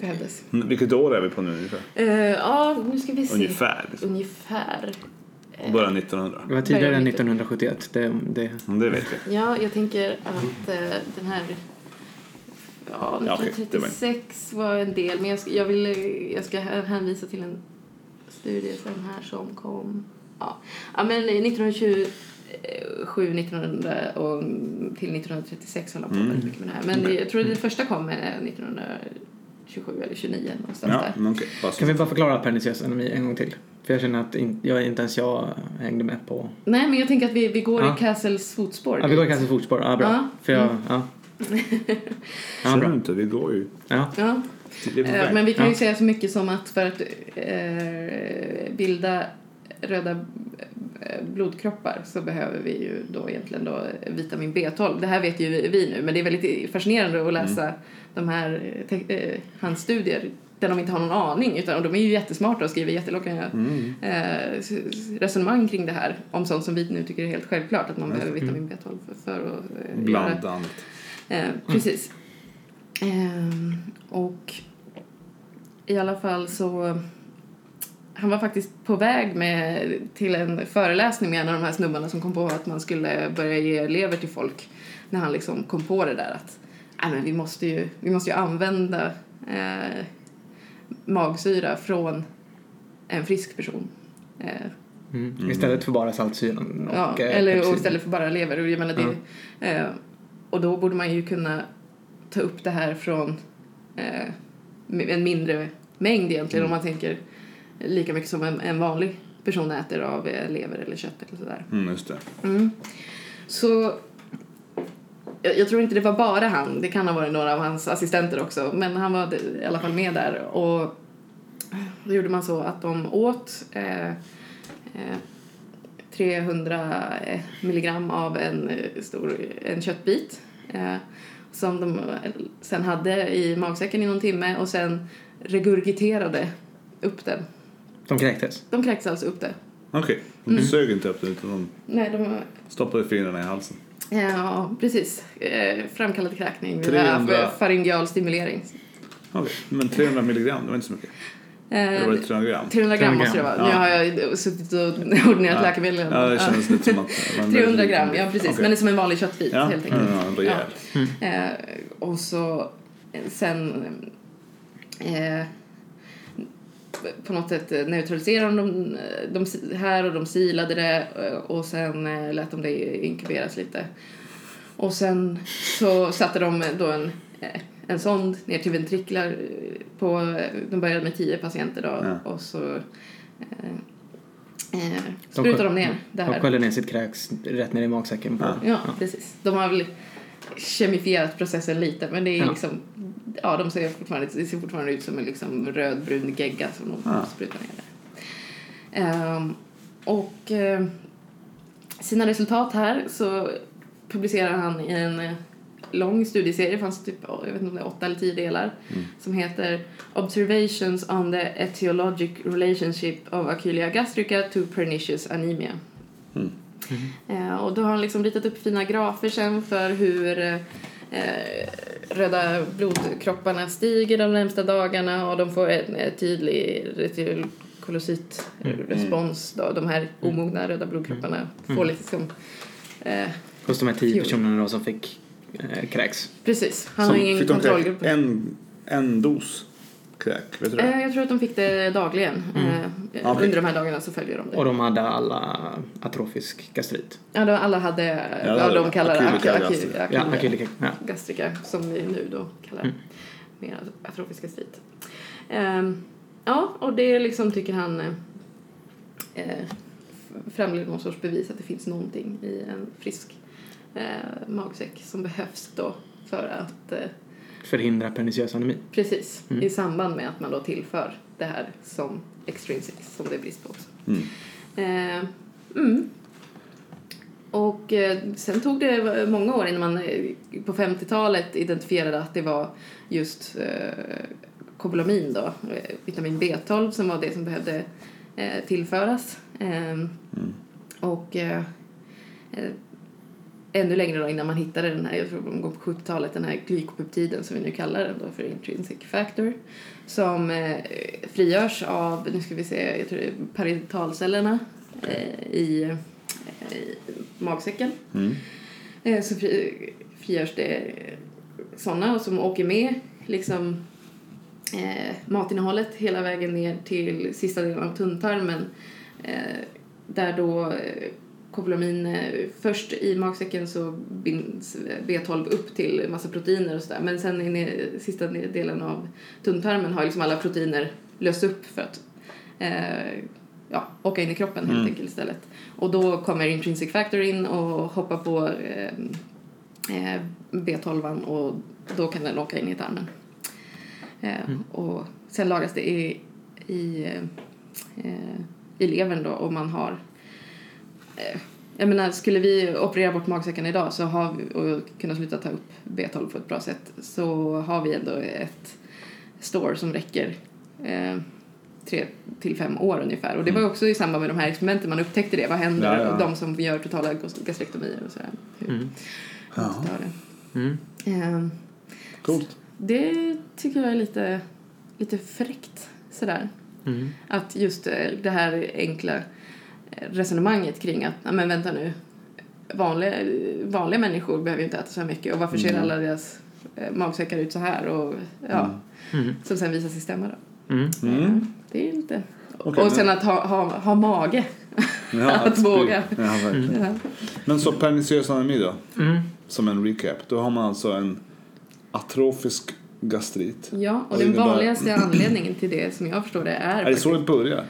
Speaker 3: behövdes.
Speaker 1: Mm, Vilket år är vi på nu ungefär?
Speaker 2: Mm.
Speaker 3: Eh, ja, nu ska vi se.
Speaker 1: Ungefär. Liksom.
Speaker 3: Ungefär.
Speaker 1: Början 1900.
Speaker 2: Det var tidigare än 1971. Det, det,
Speaker 1: Mm, Det vet vi.
Speaker 3: Ja, jag tänker att eh, den här... Ja,
Speaker 1: Ja, okej, det var en.
Speaker 3: 1936 var en del, men jag ska, jag, vill, eh, jag ska här- hänvisa till en studie sen här som kom... Ja, ja men 1927, 1900 och till 1936 höll han på
Speaker 1: Mm.
Speaker 3: väldigt mycket med det här. Men jag tror det första kom eh, 1927 eller 29 någonstans
Speaker 1: Ja,
Speaker 3: där.
Speaker 1: men okej. Bara så.
Speaker 2: kan vi bara förklara perniciös anemi en gång till? För jag känner att in, jag, inte ens jag hängde med på...
Speaker 3: Nej, men jag tänker att vi, vi går
Speaker 2: Ja.
Speaker 3: i Castles fotspår.
Speaker 2: Ja, vi går
Speaker 3: dit.
Speaker 2: kanske fotspår. Ja, bra.
Speaker 3: Ja. Mm.
Speaker 2: För jag, ja. Ja,
Speaker 1: Ser du
Speaker 2: bra.
Speaker 1: inte? Vi går ju...
Speaker 2: Ja.
Speaker 3: Ja.
Speaker 1: Det är på
Speaker 3: Eh,
Speaker 1: väg.
Speaker 3: Men vi kan ju
Speaker 2: Ja.
Speaker 3: säga så mycket som att för att eh, bilda röda eh, blodkroppar så behöver vi ju då egentligen då vitamin B12. Det här vet ju vi nu men det är väldigt fascinerande att läsa de här eh, te- eh, hans studier där de inte har någon aning utan och de är ju jättesmarta och skriver jättelånga
Speaker 1: Mm.
Speaker 3: eh, s- s- resonemang kring det här om sånt som vi nu tycker är helt självklart att man behöver vitamin B12 för, för att eh, göra
Speaker 1: Bland annat.
Speaker 3: Eh, precis. Ehm, och i alla fall så... Han var faktiskt på väg med, till en föreläsning med en av de här snubbarna som kom på att man skulle börja ge lever till folk när han liksom kom på det där att "Nej, men vi, måste ju, vi måste ju använda eh, magsyra från en frisk person. Eh,
Speaker 2: Mm. Istället för bara saltsyran och
Speaker 3: ja,
Speaker 2: eh,
Speaker 3: eller och
Speaker 2: pepsin.
Speaker 3: istället för bara lever. Och, jag menar, det, eh, och då borde man ju kunna ta upp det här från eh, m- en mindre mängd
Speaker 2: Mm.
Speaker 3: egentligen om man tänker lika mycket som en, en vanlig person äter av eh, lever eller kött eller sådär.
Speaker 1: Mm, just det.
Speaker 3: Så jag, jag tror inte det var bara han, det kan ha varit några av hans assistenter också, men han var i alla fall med där och då gjorde man så att de åt eh, eh, 300 eh, milligram av en, eh, stor, en köttbit eh, som de eh, sen hade i magsäcken i någon timme och sen regurgiterade upp den.
Speaker 2: De kräktes.
Speaker 3: De kräktes alltså upp det.
Speaker 1: Okej. De
Speaker 2: Mm.
Speaker 1: sög inte upp den utan de
Speaker 3: Nej, de
Speaker 1: stoppade fingrarna i halsen.
Speaker 3: Ja, precis. Eh, Framkallad kräkning via
Speaker 1: 300.
Speaker 3: faringeal stimulering.
Speaker 1: Okej. Men 300 milligram, det var inte så mycket. Eller var
Speaker 3: Eh,
Speaker 1: det 300 gram?
Speaker 3: 300 gram
Speaker 2: 300
Speaker 3: måste det
Speaker 2: gram,
Speaker 3: vara.
Speaker 1: ja.
Speaker 3: Nu har jag suttit och ordinerat
Speaker 1: Ja.
Speaker 3: läkemedel. igen.
Speaker 1: Ja, det
Speaker 3: Ja.
Speaker 1: kändes lite som att... man-
Speaker 3: 300 gram, ja precis.
Speaker 1: Okej.
Speaker 3: Men det är som en vanlig köttbit
Speaker 1: Ja, Mm,
Speaker 3: helt enkelt.
Speaker 1: ja, en rejäl.
Speaker 3: Ja. Eh, och så eh, sen eh, på något sätt eh, neutraliserade de, eh, de si- här och de silade det eh, och sen eh, lät de det inkuberas lite. Och sen så satte de då en, eh, en sond ner till ventriklar eh, på, de började med 10 patienter då
Speaker 1: Ja.
Speaker 3: och så eh, eh, sprutade de ner det
Speaker 2: De
Speaker 3: här.
Speaker 2: sköljde ner sitt kräks rätt ner i magsäcken. På.
Speaker 1: Ja.
Speaker 3: Ja, precis. De har väl kemifierat processen lite men det är
Speaker 2: Ja.
Speaker 3: liksom ja, de ser fortfarande, det ser fortfarande ut som en liksom rödbrun gegga som de
Speaker 1: Ja.
Speaker 3: sprutar ner där. Ehm, Och eh, sina resultat här så publicerar han i en eh, lång studieserie, det fanns typ jag vet inte om det är åtta eller tio delar, som heter Observations on the etiologic relationship of Aculia gastrica to pernicious anemia.
Speaker 1: Mm.
Speaker 3: Eh, och då har han liksom ritat upp fina grafer sen för hur eh, eh, röda blodkropparna stiger de närmsta dagarna och de får en eh, tydlig retinokocytrespons. Då. De här omogna röda blodkropparna får liksom... Eh,
Speaker 2: Hos de här tio
Speaker 3: Jo.
Speaker 2: personerna då som fick eh, kräks.
Speaker 3: precis, han
Speaker 1: Som-
Speaker 3: har ingen
Speaker 1: fick de kräk-
Speaker 3: kontrollgrupp.
Speaker 1: En, en dos kräk, vet du det?
Speaker 3: Eh, jag tror att de fick det dagligen. Eh,
Speaker 1: Okej.
Speaker 3: Under de här dagarna så följer de det.
Speaker 2: Och de hade alla atrofisk gastrit.
Speaker 3: Ja, de, alla hade
Speaker 1: Ja,
Speaker 3: vad
Speaker 1: det-
Speaker 3: de kallar
Speaker 1: akylika
Speaker 3: akylika
Speaker 1: gastric.
Speaker 2: Ja, akylika. Ja.
Speaker 3: gastrica som vi nu då kallar mer atrofisk gastrit. Ehm, ja, och det liksom tycker han eh, eh, framlägger någon sorts bevis att det finns någonting i en frisk eh, magsäck som behövs då för att eh,
Speaker 2: Förhindra perniciös anemi.
Speaker 3: precis i samband med att man då tillför det här som extrinsic som det är brist på också.
Speaker 1: Mm.
Speaker 3: Eh, mm. Och eh, sen tog det många år innan man eh, på 50-talet identifierade att det var just eh, kobolamin då, eh, vitamin B12 som var det som behövde eh, tillföras. Eh,
Speaker 1: mm,
Speaker 3: Och eh, eh, ännu längre då innan man hittade den här, jag tror de går på 70-talet, den här glykopeptiden som vi nu kallar den då för intrinsic factor som eh, frigörs av, nu ska vi se, jag tror det är parietalcellerna eh, i, eh, i magsäcken.
Speaker 1: Mm.
Speaker 3: Eh, så fri, frigörs det sådana som åker med liksom eh, matinnehållet hela vägen ner till sista delen av tunntarmen eh, där då eh, kobolamin eh, först i magsäcken så binds eh, B12 upp till massa proteiner och sådär men sen i ne- sista ne- delen av tunntarmen har liksom alla proteiner lösts upp för att eh, ja, åka in i kroppen helt enkelt istället. Och då kommer intrinsic factor in och hoppar på eh, eh, B12 och då kan den åka in i tarmen. Eh,
Speaker 1: Mm.
Speaker 3: Och sen lagras det i, i, eh, eh, i levern då och man har eh, jag menar, skulle vi operera bort magsäcken idag så har vi, och kunna sluta ta upp B12 på ett bra sätt så har vi ändå ett store som räcker eh, tre till fem år ungefär. Och det var ju också i samband med de här experimenten man upptäckte det. Vad händer
Speaker 1: Mm. Ja, ja.
Speaker 3: de som gör totala gas- gastrektomier och sådär? Hur
Speaker 2: Mm.
Speaker 1: Ja.
Speaker 3: stör det?
Speaker 2: Mm.
Speaker 3: Ehm,
Speaker 1: Coolt.
Speaker 3: det tycker jag är lite, lite fräckt sådär.
Speaker 2: Mm.
Speaker 3: Att just eh, det här enkla eh, resonemanget kring att, "Ja, men vänta nu, vanliga, vanliga människor behöver ju inte äta så här mycket och varför ser
Speaker 1: Mm.
Speaker 3: alla deras eh, magsäckar ut så här och ja,
Speaker 2: Mm.
Speaker 3: som sen visar sig stämma då.
Speaker 2: Mm.
Speaker 1: Mm.
Speaker 3: Det är inte...
Speaker 1: Okej,
Speaker 3: och
Speaker 1: men-
Speaker 3: sen att ha, ha, ha mage.
Speaker 1: Ja,
Speaker 3: Att våga.
Speaker 1: Ja, verkligen.
Speaker 3: Ja.
Speaker 1: Men så perniciös anemi då,
Speaker 2: Mm.
Speaker 1: som en recap. Då har man alltså en atrofisk gastrit.
Speaker 3: Ja, och
Speaker 1: Och
Speaker 3: den
Speaker 1: innebär-
Speaker 3: vanligaste anledningen till det som jag förstår det är,
Speaker 1: Är det så det börjar?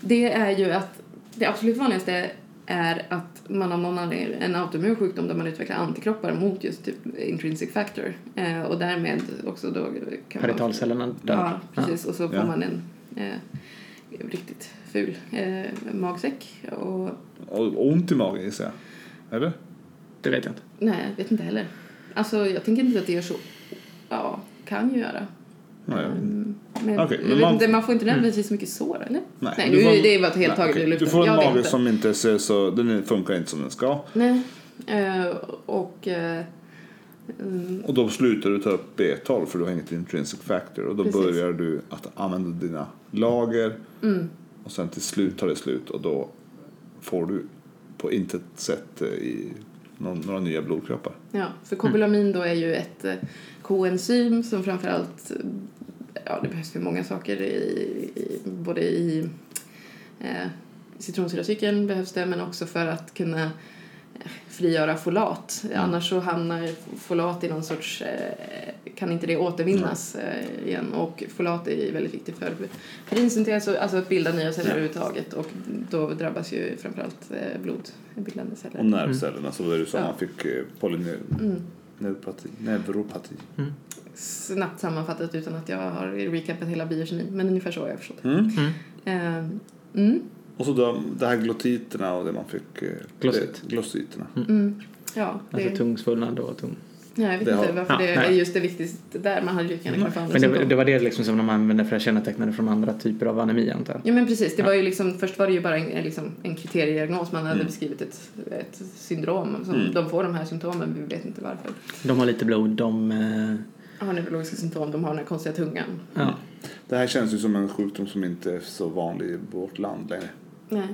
Speaker 3: det är ju att det absolut vanligaste är att man av någon anledning, en autoimmun sjukdom där man utvecklar antikroppar mot just typ intrinsic factor eh, och därmed också då kan man
Speaker 2: Paritalcellerna dör.
Speaker 3: Ja, precis. Och så får
Speaker 1: Ja.
Speaker 3: man en eh, riktigt ful eh, magsäck. Och,
Speaker 1: Och ont i magen gissar jag. Eller?
Speaker 2: Ja, det vet jag inte.
Speaker 3: nej, jag vet inte heller. Alltså, jag tänker inte att det gör så... Ja, kan ju göra.
Speaker 1: Nej, jag vet inte.
Speaker 3: Mm, Men,
Speaker 1: Okej,
Speaker 3: jag
Speaker 1: men
Speaker 3: vet
Speaker 1: man- Mm.
Speaker 3: inte, man får inte nödvändigtvis mycket sår, eller?
Speaker 1: Nej,
Speaker 3: nej
Speaker 1: du
Speaker 3: nu,
Speaker 1: får en-
Speaker 3: det var ett helt
Speaker 1: Nej,
Speaker 3: taget
Speaker 1: okej.
Speaker 3: ur luften.
Speaker 1: Du får en
Speaker 3: Jag vet
Speaker 1: mage
Speaker 3: inte.
Speaker 1: som inte ser så... Den funkar inte som den ska.
Speaker 3: Nej. Eh, och... Eh, mm,
Speaker 1: Och då slutar du ta upp B12 för du har inget intrinsic factor. Och då
Speaker 3: Precis.
Speaker 1: börjar du att använda dina lager.
Speaker 3: mm.
Speaker 1: Och sen till slut tar det slut och då får du på intet sätt eh, i någon, några nya blodkroppar.
Speaker 3: Ja, för kobolamin då är ju ett eh, koenzym som framförallt, eh, ja det behövs för många saker i, i både i eh, citronsyracykeln behövs det men också för att kunna eh, frigöra folat. Annars så hamnar folat i någon sorts, eh, kan inte det återvinnas eh, igen och folat är väldigt viktigt för perinsyntes, och- alltså att bilda nya celler överhuvudtaget och då drabbas ju framförallt eh, blodbildande celler.
Speaker 1: Och nervcellerna, så var det du sa,
Speaker 3: Mm. Ja.
Speaker 1: man fick eh, polyneuropati. Neuropati.
Speaker 2: Mm,
Speaker 3: snabbt sammanfattat
Speaker 2: mm.
Speaker 3: utan att jag har recapat hela biokemin. Men ungefär så har jag förstått det.
Speaker 1: Mm.
Speaker 3: Eh, Mm.
Speaker 1: Och så de, det här glottiterna och det man fick... eh,
Speaker 2: Glossit.
Speaker 1: det- Glossiterna.
Speaker 3: mm. Ja, det,
Speaker 2: Alltså tungsvullnad och tung.
Speaker 3: nej, jag vet
Speaker 1: det har-
Speaker 3: inte varför
Speaker 2: Ja,
Speaker 3: det är
Speaker 2: nej. Mm.
Speaker 3: just det viktigaste där. Man hade ju gärna kunnat få andra
Speaker 2: Men det,
Speaker 3: symptom.
Speaker 2: det var det liksom som de använde för att känneteckna från andra typer av anemi antar jag.
Speaker 3: Ja men precis, det var ju liksom, först var det ju bara en, en liksom, en kriteriediagnos, man hade
Speaker 2: Mm.
Speaker 3: beskrivit ett, ett syndrom. Som De får de här symptomen, vi vet inte varför.
Speaker 2: De har lite blod, de... eh,
Speaker 3: Har neurologiska symptom, de har den här konstiga tungan.
Speaker 2: Ja.
Speaker 1: Det här känns ju som en sjukdom som inte är så vanlig i vårt land längre.
Speaker 3: Nej.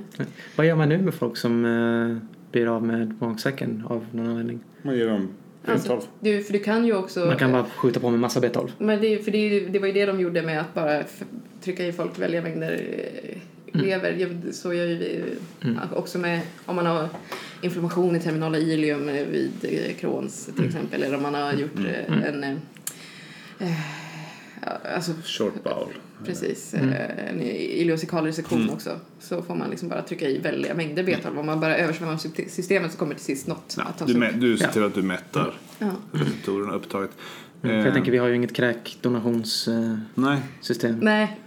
Speaker 2: Vad gör man nu med folk som eh, blir av med magsäcken av någon anledning?
Speaker 1: Man ger dem
Speaker 3: Alltså,
Speaker 1: rentorv.
Speaker 3: Du, för du kan ju också...
Speaker 2: Man kan bara skjuta på med massa B12.
Speaker 3: Men det, för det, är ju- det var ju det de gjorde med att bara f- trycka i folk välja mängder eh,
Speaker 1: Mm.
Speaker 3: lever. Jag- Så gör ju vi eh, också med om man har inflammation i terminala ileum eh, vid eh, Crohns
Speaker 1: Mm.
Speaker 3: till exempel eller om man har gjort eh, en eh, eh, ja, Alltså
Speaker 1: Short bowel.
Speaker 3: precis,
Speaker 1: Mm.
Speaker 3: eh, en ileosekal resektion också. Så får man liksom bara trycka i väldiga mängder B12. Om man bara översvämmar syste- systemet så kommer till sist något
Speaker 1: Mm. Ja,
Speaker 3: att tas
Speaker 1: du,
Speaker 3: upp.
Speaker 1: mä- du ser till att du mättar
Speaker 3: Ja.
Speaker 1: receptorerna upptaget.
Speaker 2: Mm,
Speaker 1: Eh,
Speaker 2: För jag tänker vi har ju inget kräkdonationssystem.
Speaker 1: Nej,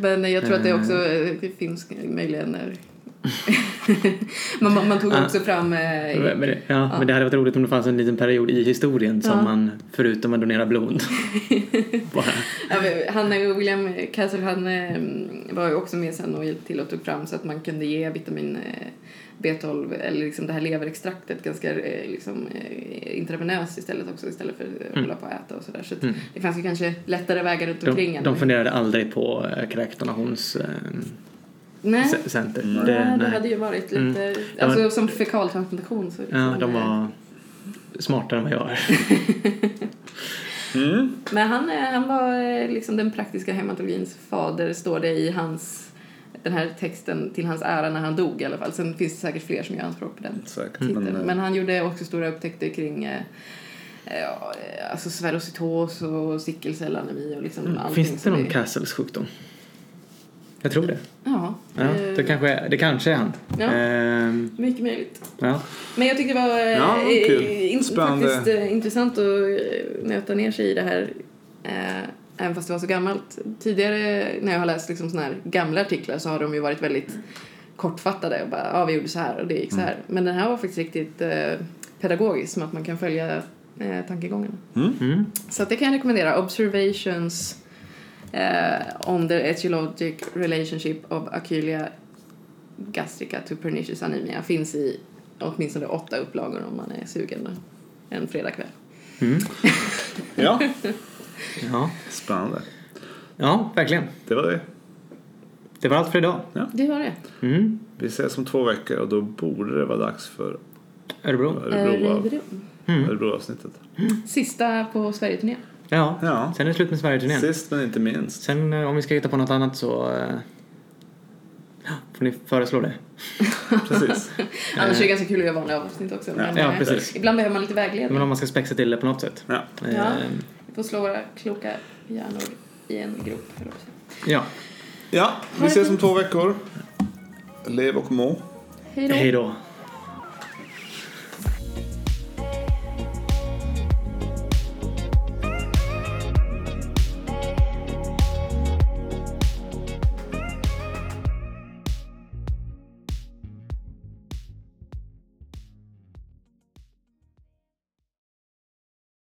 Speaker 3: Nej, men jag tror att det också eh, det finns möjligen... eh, man, man, man tog
Speaker 2: Ah.
Speaker 3: också fram... eh,
Speaker 2: Men men det, ja, men det hade varit roligt om det fanns en liten period i historien
Speaker 3: Ja.
Speaker 2: som man, förutom att donera blod, bara...
Speaker 3: ja, men Han, eh, William Castle han eh, var ju också med sen och hjälpte till och tog fram så att man kunde ge vitamin eh, B12 eller liksom det här leverextraktet ganska eh, liksom, eh, intravenöst istället också istället för
Speaker 2: Mm.
Speaker 3: att eh, hålla på och äta och sådär. Så att det fanns ju kanske lättare vägar runt omkring.
Speaker 2: De,
Speaker 3: än-
Speaker 2: de funderade aldrig på eh, kräkdonationscenter.
Speaker 3: nej,
Speaker 2: Det,
Speaker 3: nej, det
Speaker 2: nej.
Speaker 3: hade ju varit
Speaker 2: Mm.
Speaker 3: lite...
Speaker 2: Ja,
Speaker 3: Alltså
Speaker 2: men-
Speaker 3: som fekaltransplantation så liksom,
Speaker 2: Ja, de
Speaker 3: eh,
Speaker 2: var smartare än vad jag är.
Speaker 1: Mm.
Speaker 3: Men han, eh, han var eh, liksom den praktiska hematologins fader, står det i hans, den här texten till hans ära när han dog i alla fall. Sen finns det säkert fler som gör anspråk på den
Speaker 1: säkert.
Speaker 2: Mm.
Speaker 3: titeln.
Speaker 1: Men, eh,
Speaker 3: Men han gjorde också stora upptäckter kring eh, eh, ja, eh, alltså sferocytos och sickelcellanemi och liksom allting.
Speaker 2: Mm. Finns det
Speaker 3: som
Speaker 2: någon
Speaker 3: är-
Speaker 2: Castles sjukdom? Jag tror det.
Speaker 3: Ja,
Speaker 2: Ja,
Speaker 3: eh,
Speaker 2: det, kanske, är- det kanske är han.
Speaker 3: Ja.
Speaker 2: Ehm,
Speaker 3: mycket möjligt.
Speaker 2: ja.
Speaker 3: Men jag tyckte det var eh,
Speaker 1: Ja,
Speaker 3: eh,
Speaker 1: kul.
Speaker 3: in,
Speaker 1: Spännande.
Speaker 3: faktiskt eh, intressant att eh, nöta ner sig i det här. Eh, även fast det var så gammalt. Tidigare när jag har läst liksom såna här gamla artiklar så har de ju varit väldigt kortfattade. Och bara, ja vi gjorde så här och det
Speaker 1: Mm.
Speaker 3: gick så här. Men den här var faktiskt riktigt eh, pedagogisk. Som att man kan följa eh, tankegångarna.
Speaker 2: Mm.
Speaker 3: Så att det kan jag rekommendera. Observations eh, on the etiologic relationship of acylia gastrica to pernicious anemia finns i åtminstone åtta upplagor om man är sugen en fredagkväll.
Speaker 1: Ja,
Speaker 2: mm. Ja.
Speaker 1: spännande.
Speaker 2: ja, verkligen.
Speaker 1: Det var det.
Speaker 2: Det var allt för idag.
Speaker 3: Det var det.
Speaker 2: Mm.
Speaker 1: Vi ses om två veckor och då borde det vara dags för
Speaker 2: Örebro.
Speaker 1: Örebro-
Speaker 3: Örebro.
Speaker 1: Mm. Örebro-avsnittet.
Speaker 3: Eh, Sista på Sverigeturnén.
Speaker 2: Ja.
Speaker 1: Ja.
Speaker 2: Sen är det slut med Sverigeturnén.
Speaker 1: Sist men inte minst.
Speaker 2: Sen eh, om vi ska hitta på något annat så eh, får ni föreslå det.
Speaker 1: Precis.
Speaker 3: Annars är det ganska kul att göra vanliga avsnitt också. Men
Speaker 2: Ja,
Speaker 3: eh,
Speaker 2: precis.
Speaker 3: Ibland behöver man lite vägledning.
Speaker 2: Men om man ska spexa till det på något sätt.
Speaker 1: Ja.
Speaker 3: Ja.
Speaker 2: Ehm,
Speaker 3: Vi får slå våra kloka hjärnor i en grop. För oss.
Speaker 2: ja.
Speaker 1: ja, vi ses om två veckor. Lev och må.
Speaker 3: Hej då.
Speaker 2: Hej då.